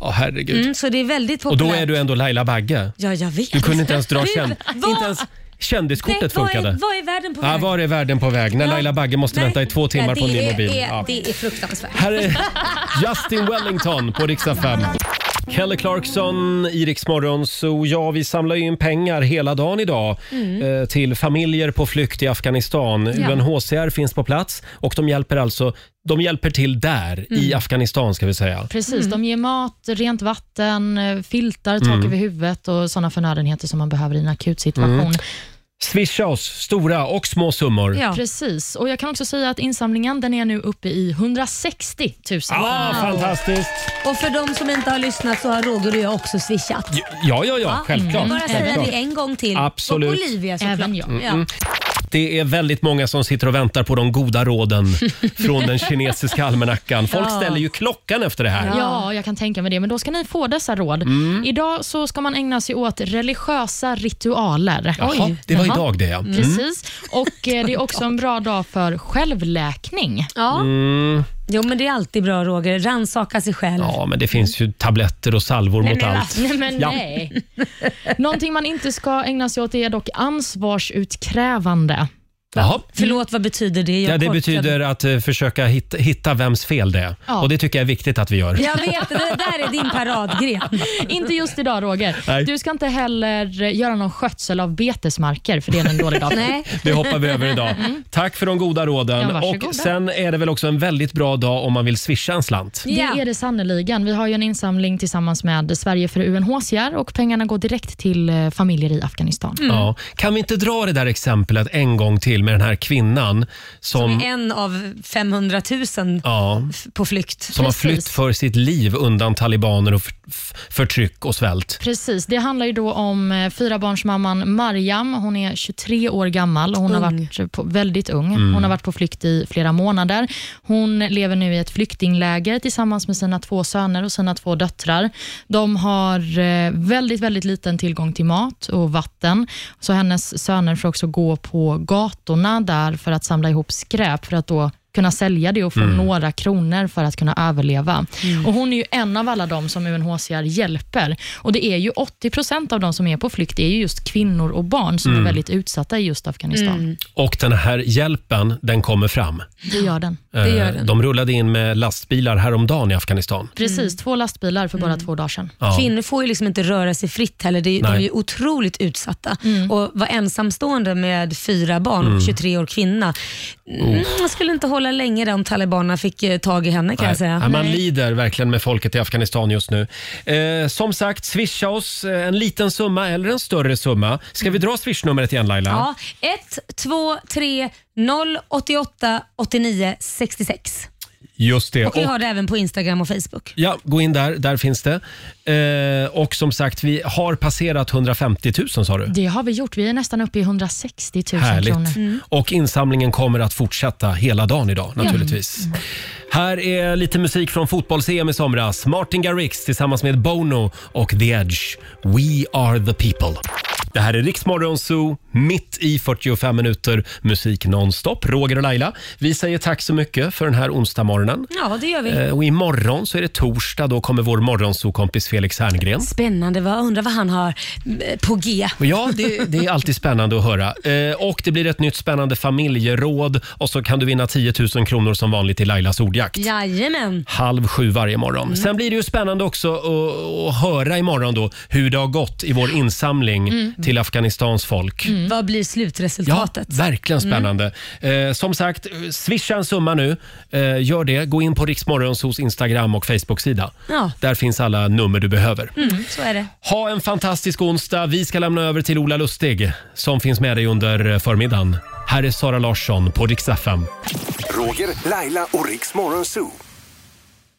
A: Åh, herregud.
B: Mm, så det är väldigt
A: och
B: populärt.
A: då är du ändå Laila Bagge.
B: Ja, jag vet.
A: Du kunde inte ens dra
B: Du,
A: känd...
B: vad-
A: Inte ens kändiskortet
B: Vad är,
A: funkade.
B: vad är världen på
A: Ja,
B: väg?
A: var är världen på väg när
B: Ja.
A: Laila Bagge måste vänta i två timmar
B: Ja,
A: på en ny
B: det
A: mobil?
B: Är,
A: Ja.
B: Det är fruktansvärt.
A: Här är Justin Wellington på riksdag 5. Kelly Clarkson i Rix Morgon, så ja, vi samlar ju in pengar hela dagen idag
L: Mm.
A: eh, till familjer på flykt i Afghanistan.
L: Ja.
A: UNHCR finns på plats och de hjälper alltså de hjälper till där, i
C: Mm.
A: Afghanistan ska vi säga.
C: Precis, de ger mat, rent vatten, eh, filtar, tak
A: Mm.
C: över huvudet och sådana förnödenheter som man behöver i en akut situation.
A: Mm. Swisha oss, stora och små summor.
C: Precis, och jag kan också säga att insamlingen den är nu uppe i 160 000
A: Ah, fantastiskt!
B: Och för de som inte har lyssnat så har Roger och jag också swishat. Mm.
A: Ja, ja, ja, självklart.
B: Bara säga
A: självklart.
B: det en gång till.
A: Absolut.
B: Och Olivia såklart. Även jag.
A: Mm. Det är väldigt många som sitter och väntar på de goda råden från den kinesiska almanackan. Folk
C: Ja.
A: ställer ju klockan efter det här.
C: Ja, jag kan tänka mig det. Men då ska ni få dessa råd.
A: Mm.
C: Idag så ska man ägna sig åt religiösa ritualer.
A: Jaha, Oj. det var idag det, ja. Mm.
C: Precis. Och eh, det är också en bra dag för självläkning.
B: Ja.
A: Mm.
B: Jo men det är alltid bra Roger, rannsaka sig själv.
A: Ja, men det finns ju tabletter och salvor mot
C: men,
A: allt.
C: Nej, men
A: ja.
C: nej. Någonting man inte ska ägna sig åt är dock ansvarsutkrävande.
A: Jaha.
B: Förlåt, vad betyder det?
A: Ja, det betyder att eh, försöka hitta, hitta vems fel det är.
C: Ja.
A: Och det tycker jag är viktigt att vi gör.
C: Jag vet, det där är din paradgren. inte just idag Roger.
A: Nej.
C: Du ska inte heller göra någon skötsel av betesmarker, för det är en dålig dag.
A: Det hoppar vi över idag.
C: Mm.
A: Tack för de goda råden.
C: Ja, varsågoda.
A: och sen är det väl också en väldigt bra dag om man vill swisha en slant.
C: Det är det sannoliken. Vi har ju en insamling tillsammans med Sverige för UNHCR och pengarna går direkt till eh, familjer i Afghanistan.
A: Ja. Kan vi inte dra det där exemplet en gång till med den här kvinnan som,
B: Som är en av 500 000
A: ja,
B: på flykt.
A: som har flytt för sitt liv undan talibaner och f- f- förtryck och svält?
C: Precis. Det handlar ju då om eh, fyrabarnsmamman Mariam. Hon är 23 år gammal och hon har varit på, väldigt ung.
H: Mm.
C: Hon har varit på flykt i flera månader. Hon lever nu i ett flyktingläger tillsammans med sina två söner och sina två döttrar. De har eh, väldigt, väldigt liten tillgång till mat och vatten, så hennes söner får också gå på gator gatorna där för att samla ihop skräp för att då kunna sälja det och få
L: Mm.
C: några kronor för att kunna överleva. Och Hon är ju en av alla de som UNHCR hjälper. Och Det är ju 80 procent av de som är på flykt är ju just kvinnor och barn som
A: Mm.
C: är väldigt utsatta i just Afghanistan.
A: Och den här hjälpen, den kommer fram.
C: Det gör den.
A: Eh, De rullade in med lastbilar häromdagen i Afghanistan.
C: Precis, två lastbilar för bara två dagar sedan.
A: Ja.
B: Kvinnor får ju liksom inte röra sig fritt heller. Det är ju- De
A: Nej.
B: är ju otroligt utsatta. Och vara ensamstående med fyra barn och
A: Mm. Oh.
B: 23 år kvinna. Mm, jag skulle inte hålla länge där om talibanerna fick eh, tag i henne kan
A: Nej.
B: jag säga.
A: Nej, Man lider verkligen med folket i Afghanistan just nu. Eh, som sagt, swisha oss eh, en liten summa eller en större summa. Ska vi dra swishnumret igen Laila?
B: Ja, 1, 2, 3, 0, 88, 89, 66.
A: Just det.
B: Och vi
A: Och-
B: har det även på Instagram och Facebook.
A: Ja, gå in där. Där finns det. Eh, och som sagt, vi har passerat 150 000 sa du.
C: Det har vi gjort. Vi är nästan uppe i 160 000
A: Härligt.
C: kronor.
A: Och insamlingen kommer att fortsätta hela dagen idag
C: Ja. Mm.
A: naturligtvis. Här är lite musik från fotbolls-EM i somras. Martin Garrix tillsammans med Bono och The Edge. We are the people. Det här är Riksmorgon Zoo, mitt i 45 minuter musik nonstop. Roger och Laila, vi säger tack så mycket för den här onsdagmorgonen.
B: Ja, det gör vi.
A: Eh, Och imorgon så är det torsdag. Då kommer vår morgonsokompis Felix Herngren.
B: Spännande. Vad, undrar vad han har eh, på G.
A: Men Ja, det, det är alltid spännande att höra. Eh, och det blir ett nytt spännande familjeråd och så kan du vinna 10 000 kronor som vanligt i Lailas ordjakt.
B: Jajamän.
A: Halv sju varje morgon.
B: Mm.
A: Sen blir det ju spännande också att, att höra imorgon då hur det har gått i vår insamling
B: Mm.
A: till Afghanistans folk.
B: Vad blir slutresultatet?
A: Verkligen
B: Mm.
A: spännande. Eh, som sagt, swisha en summa nu. Eh, gör det. Gå in på Riksmorgonsos Instagram och Facebook-sida.
B: Ja.
A: Där finns alla nummer du behöver.
B: Mm, så är det.
A: Ha en fantastisk onsdag. Vi ska lämna över till Ola Lustig som finns med dig under eh, förmiddagen. Här är Sara Larsson på Dix FM.
G: Roger, Laila och Riks Morgonzoo.